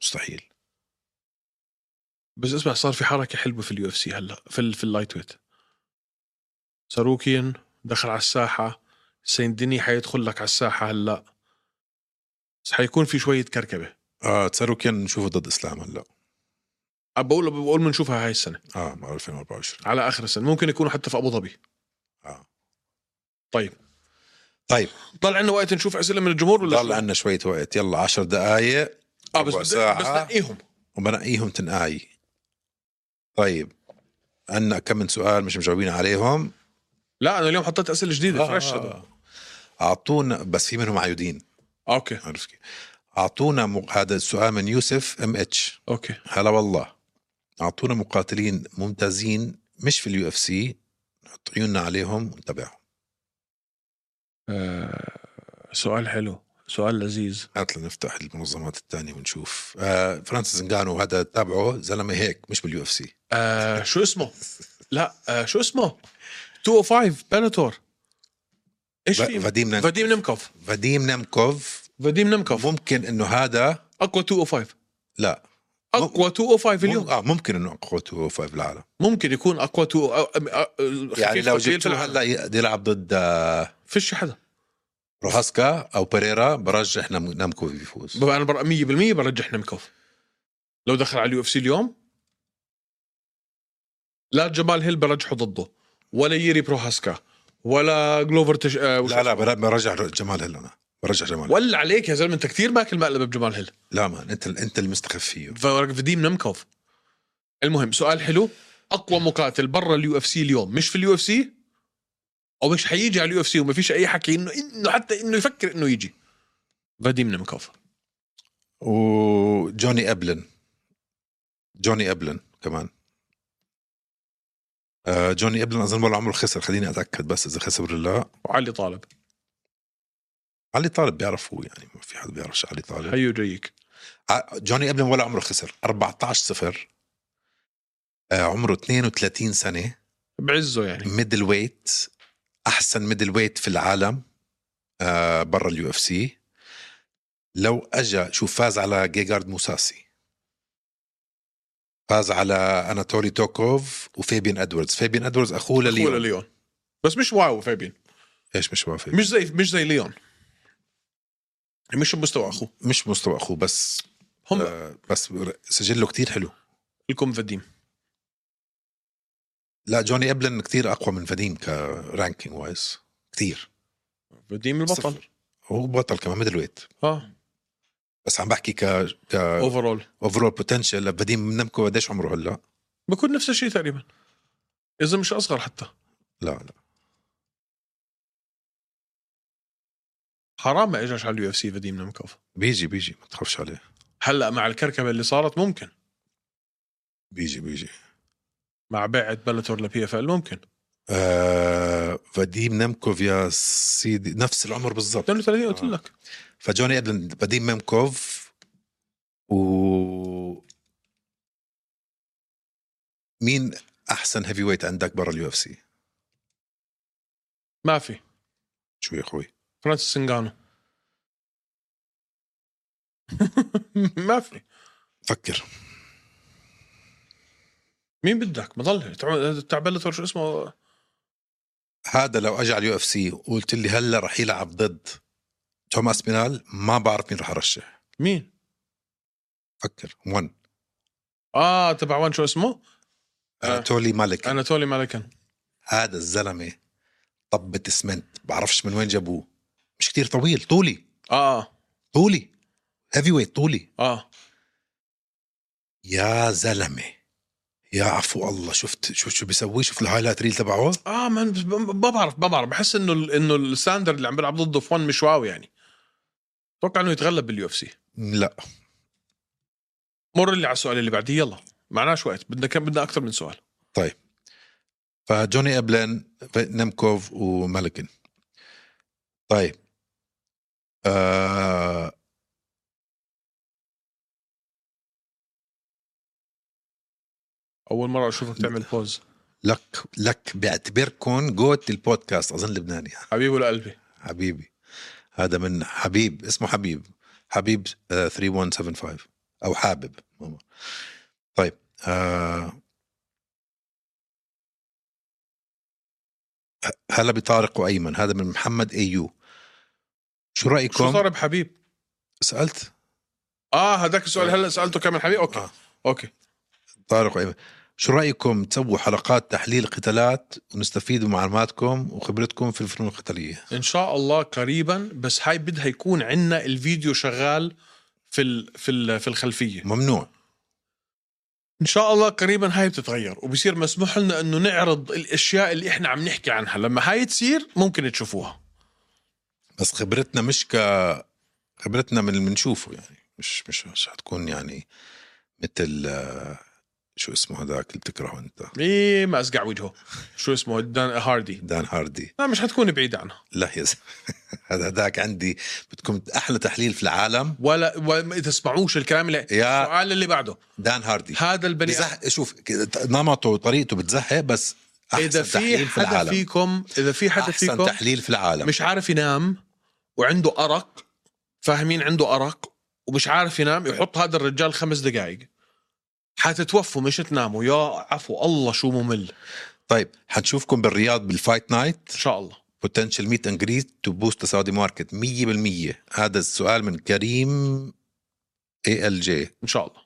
S3: مستحيل
S1: بس اسمع صار في حركه حلوه في اليو اف سي هلا في ال- في اللايت ويت ساروكيان دخل على الساحه سين ديني حيدخل لك على الساحه هلا بس حيكون في شويه كركبه
S3: اه تساروكيان نشوفه ضد اسلام هلا
S1: أب- بقول بقول بنشوفها هاي السنه
S3: اه مع 2024
S1: على اخر السنه ممكن يكونوا حتى في ابو ظبي
S3: اه
S1: طيب
S3: طيب
S1: ضل عندنا وقت نشوف اسئله من الجمهور ولا
S3: ضل
S1: شو؟
S3: عندنا شوية وقت يلا 10 دقائق
S1: اه بس
S3: ربع
S1: بس
S3: ساعة.
S1: نقيهم
S3: وبنقيهم تنقاي طيب عندنا كم من سؤال مش مجاوبين عليهم
S1: لا انا اليوم حطيت اسئله
S3: آه،
S1: جديده فريش هذا
S3: اعطونا بس في منهم عايدين
S1: اوكي
S3: عرفت كيف اعطونا م... هذا السؤال من يوسف ام اتش
S1: اوكي
S3: هلا والله اعطونا مقاتلين ممتازين مش في اليو اف سي نحط عيوننا عليهم ونتابعهم
S1: آه، سؤال حلو سؤال لذيذ
S3: هات لنفتح المنظمات الثانية ونشوف آه فرانسيس انجانو هذا تابعه زلمة هيك مش باليو اف سي
S1: آه شو اسمه؟ لا آه شو اسمه؟ 205 بلاتور ايش
S3: ف-
S1: في؟
S3: فاديم نانك-
S1: فاديم نمكوف
S3: فاديم نمكوف
S1: فاديم نمكوف
S3: ممكن انه هذا
S1: اقوى 205
S3: لا
S1: اقوى 205
S3: مم...
S1: اليوم
S3: اه ممكن انه اقوى فايف بالعالم
S1: ممكن يكون اقوى 2 أو- أم- أ-
S3: oh يعني
S1: خفيف
S3: لو
S1: وثقيل في
S3: جبته
S1: العالم.
S3: هلا يقدر يلعب ضد آه،
S1: فيش حدا
S3: روهاسكا او بيريرا برجح نم... نمكوف يفوز
S1: ببقى انا بر- 100% برجح نمكوف لو دخل على اليو اف سي اليوم لا جمال هيل برجحه ضده ولا ييري بروهاسكا ولا جلوفر تش... آه وش
S3: لا لا بر- برجح جمال هلا انا برجح جمال
S1: ولا عليك يا زلمه انت كثير ماكل مقلب بجمال هيل
S3: لا مان انت انت اللي مستخف فيه
S1: فديم نمكوف المهم سؤال حلو اقوى مقاتل برا اليو اف سي اليوم مش في اليو اف سي او مش حيجي على اليو اف سي وما فيش اي حكي انه انه حتى انه يفكر انه يجي فاديم نمكوف
S3: وجوني ابلن جوني ابلن كمان آه جوني ابلن اظن ولا عمره خسر خليني اتاكد بس اذا خسر ولا لا
S1: وعلي طالب
S3: علي طالب بيعرفوه يعني ما في حد بيعرفش علي طالب
S1: حيو جيك
S3: ع- جوني ابلم ولا عمره خسر 14 0 آه عمره 32 سنه
S1: بعزه يعني
S3: ميدل ويت احسن ميدل ويت في العالم آه برا اليو اف سي لو اجى شوف فاز على جيجارد موساسي فاز على اناتولي توكوف وفابين ادواردز فابين ادواردز اخوه
S1: ولا
S3: لليون
S1: ليون بس مش واو فابين
S3: ايش مش موافق
S1: مش زي مش زي ليون مش بمستوى اخوه
S3: مش مستوى اخوه بس
S1: هم آه.
S3: آه بس سجله كتير حلو
S1: الكم فديم
S3: لا جوني ابلن كتير اقوى من فديم كرانكينج وايز كتير
S1: فديم البطل
S3: صفر. هو بطل كمان ميدل ويت
S1: اه
S3: بس عم بحكي ك
S1: آه.
S3: ك
S1: اوفرول
S3: اوفرول بوتنشل فديم نمكو قديش عمره هلا
S1: بكون نفس الشيء تقريبا اذا مش اصغر حتى
S3: لا لا
S1: حرام ما اجاش على اليو اف سي فديم نمكوف
S3: بيجي بيجي ما تخافش عليه
S1: هلا مع الكركبه اللي صارت ممكن
S3: بيجي بيجي
S1: مع بيعه بلاتور لبي اف ال ممكن
S3: آه فديم نمكوف يا سيدي نفس العمر بالضبط
S1: 32 قلت لك
S3: فجوني ابلن فديم نمكوف و مين احسن هيفي ويت عندك برا اليو اف سي
S1: ما في
S3: شو يا اخوي
S1: فرانسيس انجانو (laughs) ما في
S3: فكر
S1: مين بدك ما ضل تع- تاع بلاتور شو اسمه
S3: هذا لو اجى على اليو اف سي وقلت لي هلا رح يلعب ضد توماس بينال ما بعرف مين رح ارشح
S1: مين
S3: فكر 1
S1: اه تبع وين شو اسمه آه.
S3: اناتولي مالك
S1: اناتولي مالكن
S3: هذا الزلمه طبة اسمنت بعرفش من وين جابوه مش كتير طويل طولي
S1: اه اه
S3: طولي هيفي ويت طولي
S1: اه
S3: يا زلمه يا عفو الله شفت شو شو بيسوي شوف الهايلايت ريل تبعه
S1: اه ما ما بعرف ما بعرف بحس انه ال- انه الستاندرد اللي عم بيلعب ضده فون مش واو يعني اتوقع انه يتغلب باليو اف سي
S3: لا
S1: مر اللي على السؤال اللي بعديه يلا معناش وقت بدنا كم بدنا اكثر من سؤال
S3: فجوني ابلن نمكوف ومالكن طيب آه
S1: اول مره اشوفك تعمل بوز
S3: لك لك بعتبركم جوت البودكاست اظن لبناني
S1: حبيبه لقلبي
S3: حبيبي هذا من حبيب اسمه حبيب حبيب آه، 3175 او حابب ماما. طيب آه ه- هلا بطارق وايمن هذا من محمد ايو شو
S1: شو
S3: رايكم
S1: صار بحبيب
S3: سالت
S1: اه هذاك السؤال هلا سالته كامل حبيب اوكي
S3: آه.
S1: اوكي
S3: طارق وايمن شو رايكم تسووا حلقات تحليل قتالات ونستفيد من معلوماتكم وخبرتكم في الفنون القتاليه
S1: ان شاء الله قريبا بس هاي بدها يكون عندنا الفيديو شغال في ال في ال في الخلفيه
S3: ممنوع
S1: ان شاء الله قريبا هاي بتتغير وبصير مسموح لنا انه نعرض الاشياء اللي احنا عم نحكي عنها لما هاي تصير ممكن تشوفوها
S3: بس خبرتنا مش ك خبرتنا من اللي بنشوفه يعني مش مش مش حتكون يعني مثل آه، شو اسمه هذاك اللي بتكرهه انت
S1: ايه ما اسقع وجهه شو اسمه دان هاردي
S3: دان هاردي
S1: لا مش حتكون بعيدة عنها
S3: لا يا زلمة. (laughs) هذا هذاك عندي بتكون احلى تحليل في العالم
S1: ولا وما تسمعوش الكلام اللي
S3: يا
S1: السؤال اللي بعده
S3: دان هاردي
S1: هذا البني
S3: بزح... شوف كده نمطه وطريقته بتزهق بس احسن
S1: اذا في
S3: تحليل في
S1: حدا
S3: العالم
S1: فيكم اذا في حدا
S3: احسن
S1: فيكم
S3: تحليل في العالم
S1: مش عارف ينام وعنده ارق فاهمين عنده ارق ومش عارف ينام يحط هذا الرجال خمس دقائق حتتوفوا مش تناموا يا عفو الله شو ممل
S3: طيب حنشوفكم بالرياض بالفايت نايت
S1: ان شاء الله
S3: بوتنشال ميت اند جريت تو بوست ذا سعودي ماركت 100% هذا السؤال من كريم اي ال جي
S1: ان شاء الله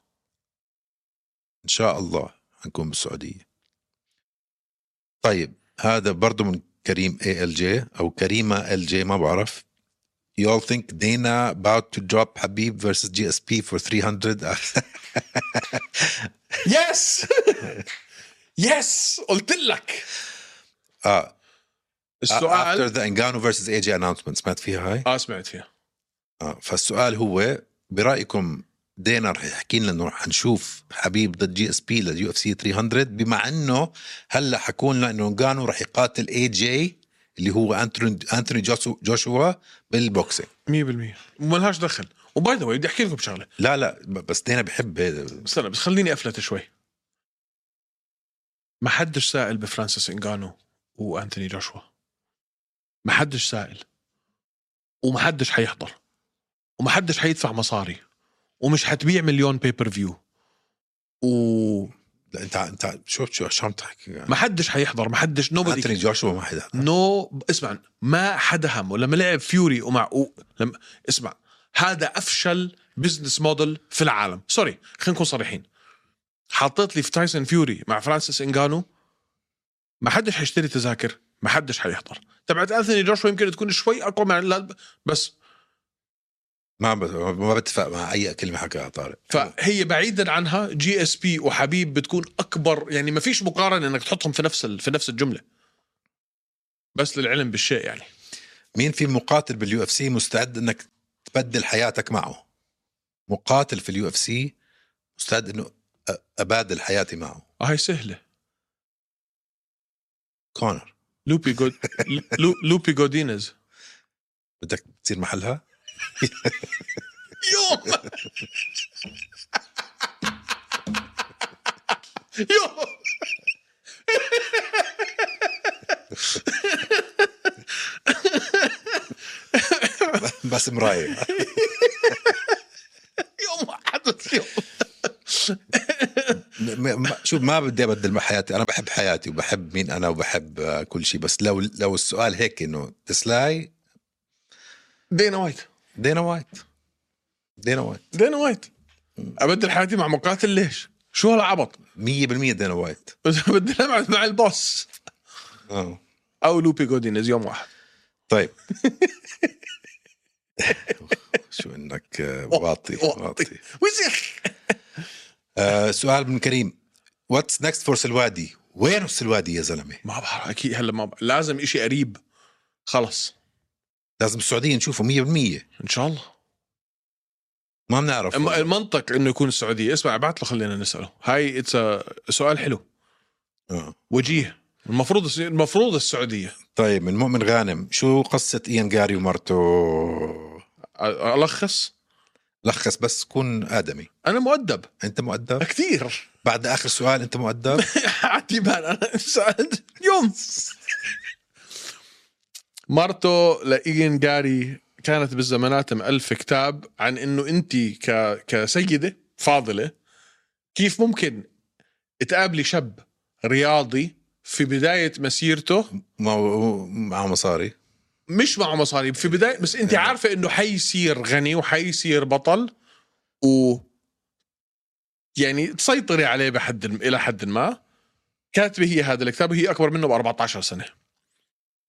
S3: ان شاء الله حنكون بالسعوديه طيب هذا برضه من كريم اي ال جي او كريمه ال جي ما بعرف You all think Dana about to drop Habib versus GSP for 300
S1: (laughs) يس يس قلت لك
S3: اه
S1: السؤال
S3: آه، after the Engano versus AJ announcement سمعت فيها هاي؟
S1: اه سمعت فيها
S3: آه. فالسؤال هو برأيكم دينا رح يحكي لنا انه حنشوف حبيب ضد جي اس بي لليو اف سي 300 بمع انه هلا حكوا لنا انه انغانو رح يقاتل اي جي اللي هو انتوني انتوني جوشو- جوشوا بالبوكسينج
S1: 100% وملهاش دخل وباي ذا بدي احكي لكم بشغله
S3: لا لا ب- بس انا بحب هذا
S1: استنى بس خليني افلت شوي ما حدش سائل بفرانسيس انجانو وانتوني جاشوا ما حدش سائل وما حدش حيحضر وما حدش حيدفع مصاري ومش حتبيع مليون بيبر فيو وما
S3: لا انت انت شو شو شو عم تحكي يعني.
S1: حدش حيحضر ما حدش nobody
S3: انتوني جوشوا ما حدا
S1: نو اسمع ما حدا همه لما لعب فيوري ومع و... لما اسمع هذا افشل بزنس موديل في العالم سوري خلينا نكون صريحين حطيت لي في تايسون فيوري مع فرانسيس انجانو ما حدش حيشتري تذاكر ما حدش حيحضر تبعت انثوني جوشوا يمكن تكون شوي اقوى مع لا، بس
S3: ما ب- ما بتفق مع اي كلمه حكاها طارق
S1: فهي بعيدا عنها جي اس بي وحبيب بتكون اكبر يعني ما فيش مقارنه انك تحطهم في نفس ال... في نفس الجمله بس للعلم بالشيء يعني
S3: مين في مقاتل باليو اف سي مستعد انك تبدل حياتك معه مقاتل في اليو اف سي مستعد انه أ- ابادل حياتي معه
S1: آه، هاي سهله
S3: كونر
S1: لوبي جود لو... لوبي جودينيز
S3: بدك تصير محلها (laughs)
S1: يوم يوم
S3: بس مرايه
S1: يوم حدث يوم
S3: م- م- شوف ما بدي ابدل حياتي انا بحب حياتي وبحب مين انا وبحب آه، كل شيء بس لو لو السؤال هيك انه تسلاي
S1: دينا وايت
S3: دينا وايت دينا وايت
S1: دينا وايت ابدل حياتي مع مقاتل ليش؟ شو هالعبط؟
S3: 100% دينا وايت
S1: بدي ابعد مع البوس
S3: اه
S1: او لوبي جودينيز يوم واحد
S3: طيب (laughs) شو انك آه، واطي واطي
S1: ويصير
S3: آه سؤال من كريم واتس نكست فور سلوادي وين سلوادي يا زلمه
S1: ما بعرف اكيد هلا ما بعرف. لازم إشي قريب خلص
S3: لازم السعوديه نشوفه 100%
S1: ان شاء الله
S3: ما بنعرف
S1: الم- المنطق انه يكون السعوديه اسمع ابعت له خلينا نساله هاي it's a- سؤال حلو
S3: آه.
S1: وجيه المفروض الس- المفروض السعوديه
S3: طيب من مؤمن غانم شو قصه ايان جاري ومرته
S1: أ- الخص
S3: لخص بس كن ادمي
S1: انا مؤدب
S3: انت مؤدب
S1: (laughs) كثير
S3: بعد اخر سؤال
S1: (laughs)
S3: انت مؤدب
S1: عادي بان انا انسان يوم مرته لاين جاري كانت بالزمانات مألف كتاب عن انه انت ك... كسيده فاضله كيف ممكن تقابلي شاب رياضي في بدايه مسيرته
S3: ما هو- معه مصاري
S1: مش معه مصاري في بدايه بس انت عارفه انه حيصير غني وحيصير بطل و يعني تسيطري عليه بحد الى حد ما كاتبه هي هذا الكتاب وهي اكبر منه ب 14 سنه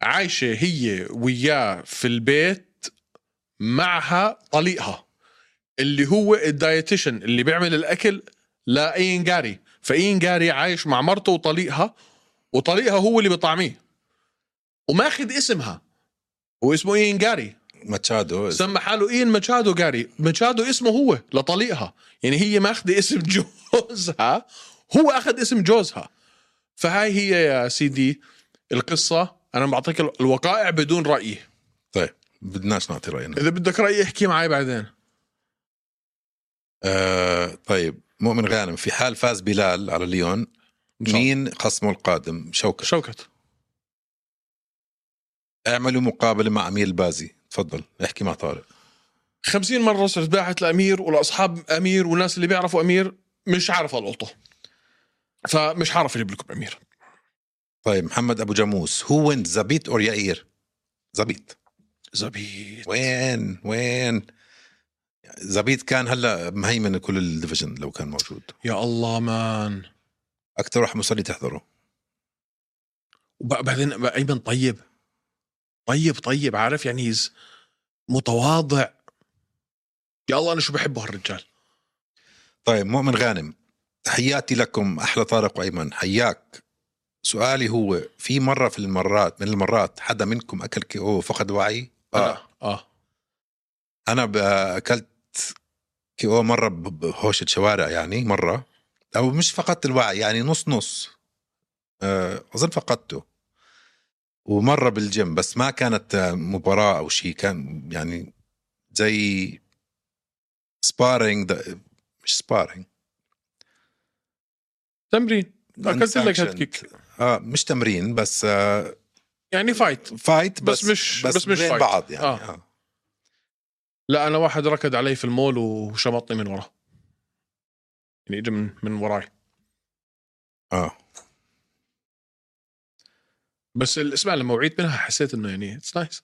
S1: عايشه هي وياه في البيت معها طليقها اللي هو الدايتيشن اللي بيعمل الاكل لاين جاري فاين جاري عايش مع مرته وطليقها وطليقها هو اللي بيطعميه وماخذ اسمها واسمه اين جاري
S3: ماتشادو
S1: سمى حاله اين ماتشادو جاري ماتشادو اسمه هو لطليقها يعني هي ماخذه اسم (laughs) جوزها هو اخذ اسم جوزها فهاي هي يا سيدي القصه انا بعطيك الوقائع بدون رايي
S3: طيب بدناش نعطي راينا
S1: اذا بدك رايي احكي معي بعدين
S3: آه طيب مؤمن غانم في حال فاز بلال على ليون
S1: إن شاء الله.
S3: مين خصمه القادم شوكة
S1: شوكت
S3: اعملوا مقابلة مع أمير البازي تفضل احكي مع طارق
S1: خمسين مرة صرت باعت لأمير ولأصحاب أمير والناس اللي بيعرفوا أمير مش عارف ألقطه فمش عارف أجيب لكم أمير
S3: طيب محمد أبو جاموس هو وين زبيت أور يائير زبيت
S1: زبيط
S3: وين وين زبيت كان هلا مهيمن كل الديفيجن لو كان موجود
S1: يا الله مان
S3: أكثر واحد مصلي تحضره
S1: وبعدين ايمن طيب طيب طيب عارف يعني هيز متواضع يا الله انا شو بحبه هالرجال
S3: طيب مؤمن غانم تحياتي لكم احلى طارق وايمن حياك سؤالي هو في مره في المرات من المرات حدا منكم اكل كي او فقد وعي
S1: انا اه
S3: انا ب- اكلت كي او مره ب- بهوشه شوارع يعني مره او أه، مش فقدت الوعي يعني نص نص آه، اظن فقدته ومره بالجيم بس ما كانت آه، مباراه او شيء كان يعني زي سبارينج مش سبارينج
S1: تمرين اكلت لك هيد كيك
S3: اه مش تمرين بس آه
S1: يعني فايت
S3: فايت
S1: بس
S3: بس
S1: مش- بس مش
S3: بين
S1: فايت.
S3: بعض يعني
S1: آه.
S3: آه. آه.
S1: لا انا واحد ركض علي في المول وشمطني من وراه يعني اجى من من وراي
S3: اه
S1: بس الاسماء لما وعيت منها حسيت انه يعني اتس نايس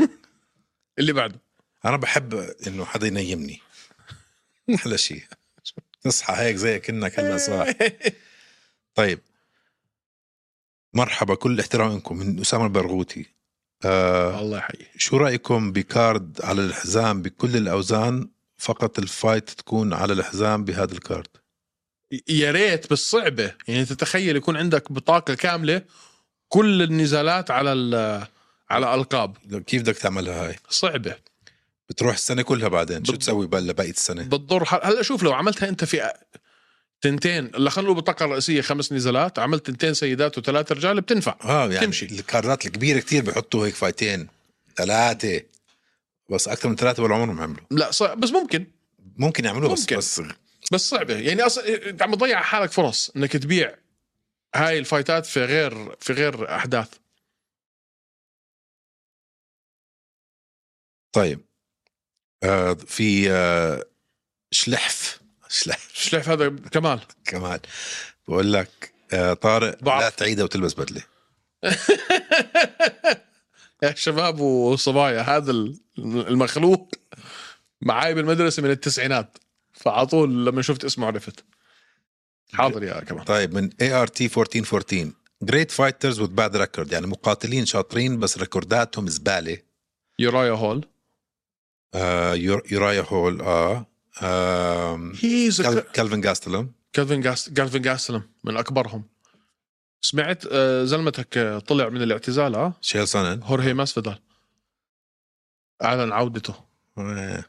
S1: (laughs) اللي بعده
S3: انا بحب انه حدا ينيمني احلى شيء تصحى هيك زي كانك
S1: إيه.
S3: هلا
S1: (laughs)
S3: صاحي طيب مرحبا كل احترام لكم من اسامه البرغوثي آه
S1: الله يحييه
S3: شو رايكم بكارد على الحزام بكل الاوزان فقط الفايت تكون على الحزام بهذا الكارد
S1: يا ريت بس صعبه يعني تتخيل يكون عندك بطاقه كامله كل النزالات على ال- على القاب
S3: لو كيف بدك تعملها هاي
S1: صعبه
S3: بتروح السنه كلها بعدين شو
S1: بت-
S3: تسوي بقى لبقيه السنه
S1: بتضر حال هلا شوف لو عملتها انت في تنتين اللي خلوا البطاقه الرئيسيه خمس نزالات عملت تنتين سيدات وثلاثه رجال بتنفع
S3: اه يعني
S1: تمشي.
S3: تمشي. الكاردات الكبيره كتير بحطوا هيك فايتين ثلاثه بس اكثر من ثلاثه ولا عمرهم عملوا
S1: لا صع... بس ممكن
S3: ممكن يعملوه بس
S1: ممكن.
S3: بس
S1: بس صعبه يعني اصلا انت عم تضيع حالك فرص انك تبيع هاي الفايتات في غير في غير احداث
S3: طيب آه في آه شلحف شلحف (laughs)
S1: الشلحف هذا كمال
S3: كمان بقول لك آه طارق
S1: ضعف.
S3: لا تعيدها وتلبس بدله
S1: يا شباب وصبايا هذا ال- المخلوق معاي بالمدرسه من التسعينات فعلى طول لما شفت اسمه عرفت حاضر يا كمال
S3: طيب من اي ار تي 1414 جريت فايترز وذ باد ريكورد يعني مقاتلين شاطرين بس ريكورداتهم زباله
S1: يورايا هول
S3: آه يور- يورايا هول اه, آه
S1: هيز
S3: كالفن جاستلم
S1: كالفن جاس كالفن جاسلم من اكبرهم سمعت آه، زلمتك آه، طلع من الاعتزال اه
S3: شيل سنن
S1: هورهي ماسفيدال اعلن عودته
S3: آه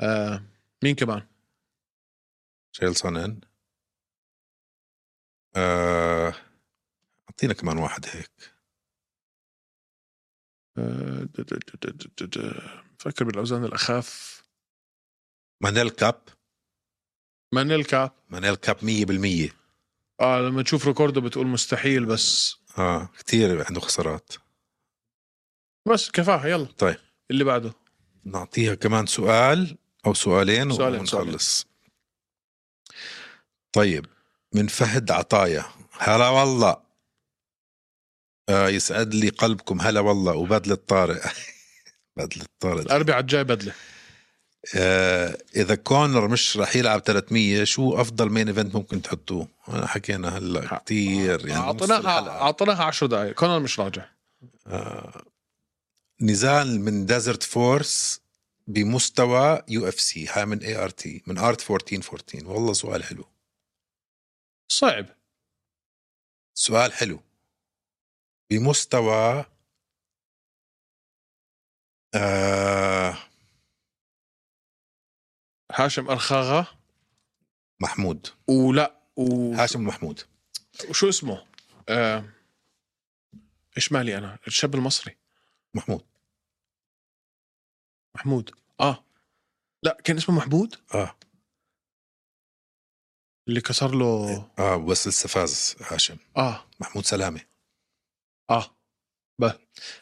S1: آه، مين كمان
S3: شيل سنن آه اعطينا كمان واحد هيك
S1: آه، د- د- د- د- د- د- فكر بالاوزان الاخاف
S3: مانيل كاب
S1: مانيل كاب
S3: مانيل كاب 100%
S1: اه لما تشوف ريكورده بتقول مستحيل بس
S3: اه كثير عنده خسارات
S1: بس كفاها يلا
S3: طيب.
S1: اللي بعده
S3: نعطيها كمان سؤال او سؤالين
S1: سؤالين،
S3: ونخلص طيب من فهد عطايا هلا والله آه يسعد لي قلبكم هلا والله وبدلة (laughs) طارق بدلة طارق
S1: الاربعاء الجاي بدله
S3: آه اذا كونر مش راح يلعب 300 شو افضل مين ايفنت ممكن تحطوه؟ انا حكينا هلا كثير يعني نص
S1: اعطيناها
S3: الحلقة.
S1: اعطيناها 10 دقائق كونر مش راجع
S3: نزال من ديزرت فورس بمستوى يو اف سي هاي من اي ار تي من ارت 1414 والله سؤال حلو
S1: صعب
S3: سؤال حلو بمستوى آه
S1: هاشم ارخاغا
S3: محمود
S1: ولا و...
S3: هاشم محمود
S1: وشو اسمه؟ آه... ايش مالي انا؟ الشاب المصري
S3: محمود
S1: محمود اه لا كان اسمه محمود
S3: اه
S1: اللي كسر له
S3: اه بس لسه فاز هاشم
S1: اه
S3: محمود سلامه
S1: اه بس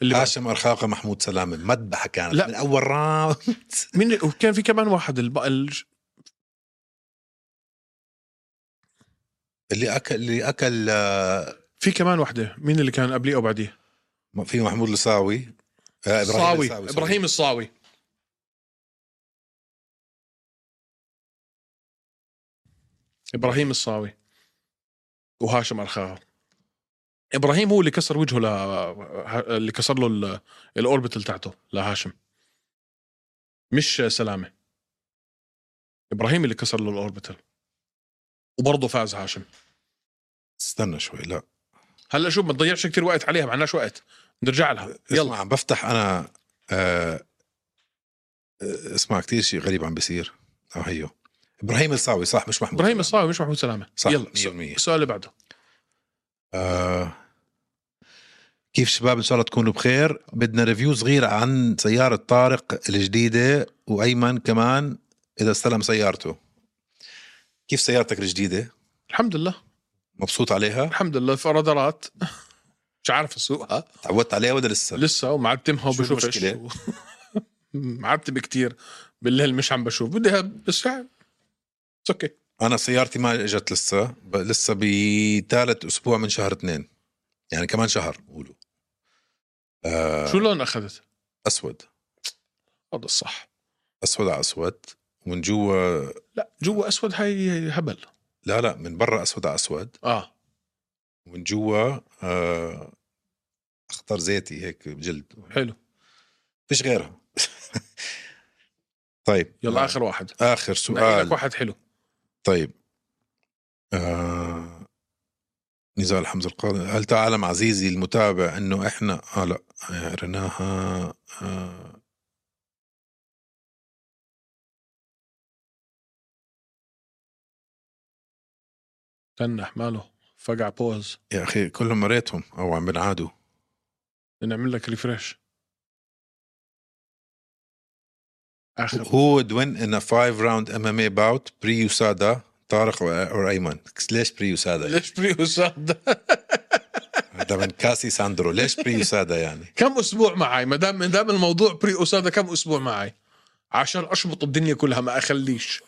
S1: اللي بعد.
S3: هاشم ارخاقه محمود سلامه مذبحه كانت
S1: لا.
S3: لا. من اول راوند
S1: مين وكان في كمان واحد الب... الج...
S3: اللي اكل اللي اكل آه
S1: في كمان واحدة مين اللي كان قبليه او بعديه؟
S3: في محمود لساوي آه
S1: الصاوي
S3: لساوي، سوري.
S1: ابراهيم الصاوي ابراهيم الصاوي وهاشم الخاغر ابراهيم هو اللي كسر وجهه ل ه- اللي كسر له ال- الاوربتل تاعته لهاشم مش سلامه ابراهيم اللي كسر له الاوربتل وبرضه فاز هاشم
S3: استنى شوي لا
S1: هلا شوف ما تضيعش كثير وقت عليها ما عندناش وقت نرجع لها
S3: يلا
S1: يلا
S3: اسمع عم بفتح انا آه آه، اسمع كثير شيء غريب عم بيصير اه هيو ابراهيم الصاوي صح مش محمود
S1: ابراهيم
S3: سلامة.
S1: الصاوي مش محمود سلامه
S3: صح
S1: يلا
S3: 100%
S1: السؤال اللي بعده
S3: آه كيف شباب ان شاء الله تكونوا بخير بدنا ريفيو صغير عن سيارة طارق الجديدة وأيمن كمان إذا استلم سيارته كيف سيارتك الجديدة
S1: الحمد لله
S3: مبسوط عليها
S1: الحمد لله في رادارات مش عارف اسوقها
S3: تعودت عليها ولا لسه
S1: لسه ومعتمها
S3: طيب. شو
S1: وبشوف ايش (laughs)
S3: المشكلة؟
S1: و- معتم كتير بالليل مش عم بشوف بدي هب- بس يعني اتس اوكي
S3: أنا سيارتي ما إجت لسه ب- لسه بثالث أسبوع من شهر اثنين يعني كمان شهر قولوا آه
S1: شو لون اخذت؟
S3: أسود
S1: هذا الصح
S3: أسود على أسود ومن جوا
S1: لا جوا اسود هاي هبل
S3: لا لا من برا أسود على أسود
S1: اه
S3: ومن جوا آه، اخضر زيتي هيك جلد
S1: حلو
S3: فيش غيرها (laughs) طيب
S1: يلا
S3: آه،
S1: اخر واحد
S3: اخر
S1: نقي لك
S3: سؤال
S1: واحد حلو
S3: طيب آه نزار حمزه القاضي هل تعلم عزيزي المتابع انه احنا اه لا قريناها آه
S1: تنح ماله فقع بوز
S3: يا اخي كلهم مريتهم او عم بنعادوا
S1: نعمل لك ريفرش اخر
S3: Who would win in a five round MMA bout بري USADA طارق or ايمن ليش بري USADA
S1: ليش بري اسامه
S3: هذا من كاسي ساندرو ليش بري USADA يعني
S1: كم اسبوع معي ما دام ما دام الموضوع بري اساده كم اسبوع معي عشان اشبط الدنيا كلها ما اخليش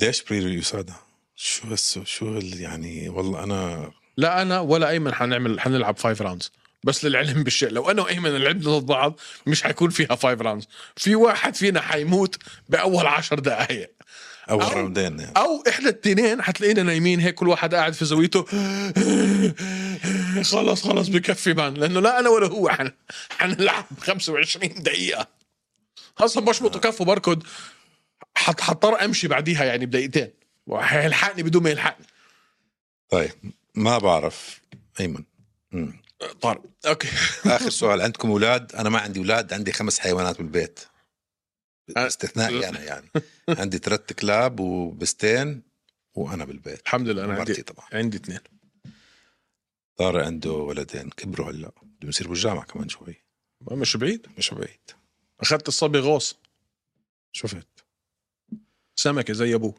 S3: ليش بريرو يساعدها؟ شو هالسو شو هال يعني والله انا
S1: لا انا ولا ايمن حنعمل حنلعب فايف راوندز بس للعلم بالشيء لو انا وايمن لعبنا ضد بعض مش حيكون فيها فايف راوندز في واحد فينا حيموت باول عشر دقائق
S3: اول
S1: أو-
S3: راوندين يعني
S1: او احنا التنين حتلاقينا نايمين هيك كل واحد قاعد في زاويته (laughs) خلص خلص بكفي مان لانه لا انا ولا هو حن... حنلعب 25 دقيقه اصلا بشمط كف وبركض حط حضطر امشي بعديها يعني بدقيقتين وحيلحقني بدون ما يلحقني
S3: طيب ما بعرف ايمن مم.
S1: طارق اوكي
S3: اخر سؤال عندكم اولاد انا ما عندي اولاد عندي خمس حيوانات بالبيت
S1: أه.
S3: استثنائي انا يعني عندي ثلاث كلاب وبستين وانا بالبيت
S1: الحمد لله انا
S3: مرتي
S1: عندي
S3: طبعا
S1: عندي اثنين
S3: طارق عنده ولدين كبروا هلا بدهم يصيروا بالجامعه كمان شوي
S1: مش بعيد
S3: مش بعيد
S1: اخذت الصبي غوص
S3: شفت
S1: سمكه زي ابوه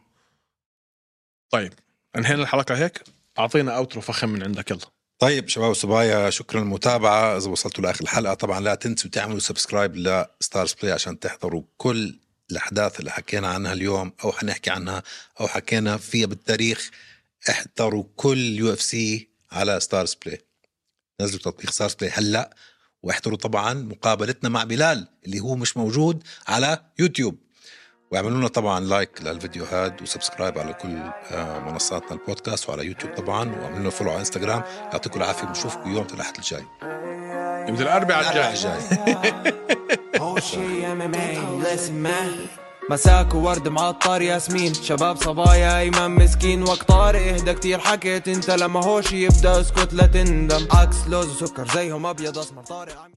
S1: طيب انهينا الحلقه هيك اعطينا اوترو فخم من عندك يلا
S3: طيب شباب وصبايا شكرا للمتابعة إذا وصلتوا لآخر الحلقة طبعا لا تنسوا تعملوا سبسكرايب لستارز بلاي عشان تحضروا كل الأحداث اللي حكينا عنها اليوم أو حنحكي عنها أو حكينا فيها بالتاريخ احضروا كل يو اف سي على ستارز بلاي نزلوا تطبيق ستارز بلاي هلا واحضروا طبعا مقابلتنا مع بلال اللي هو مش موجود على يوتيوب واعملوا لنا طبعا لايك للفيديو هاد وسبسكرايب على كل آه، منصاتنا البودكاست وعلى يوتيوب طبعا واعملوا لنا فولو على انستغرام يعطيكم العافيه بنشوفكم يوم الاحد الجاي
S1: يوم الاربعاء
S3: الأربعاء
S1: الجاي
S3: الجاي
S2: هو شي MMA listen man مساك وورد معطر ياسمين شباب صبايا ايمن مسكين وقت طارق اهدى كتير حكيت انت لما هوش يبدا اسكت لا تندم عكس لوز وسكر زيهم ابيض اسمر طارق عم-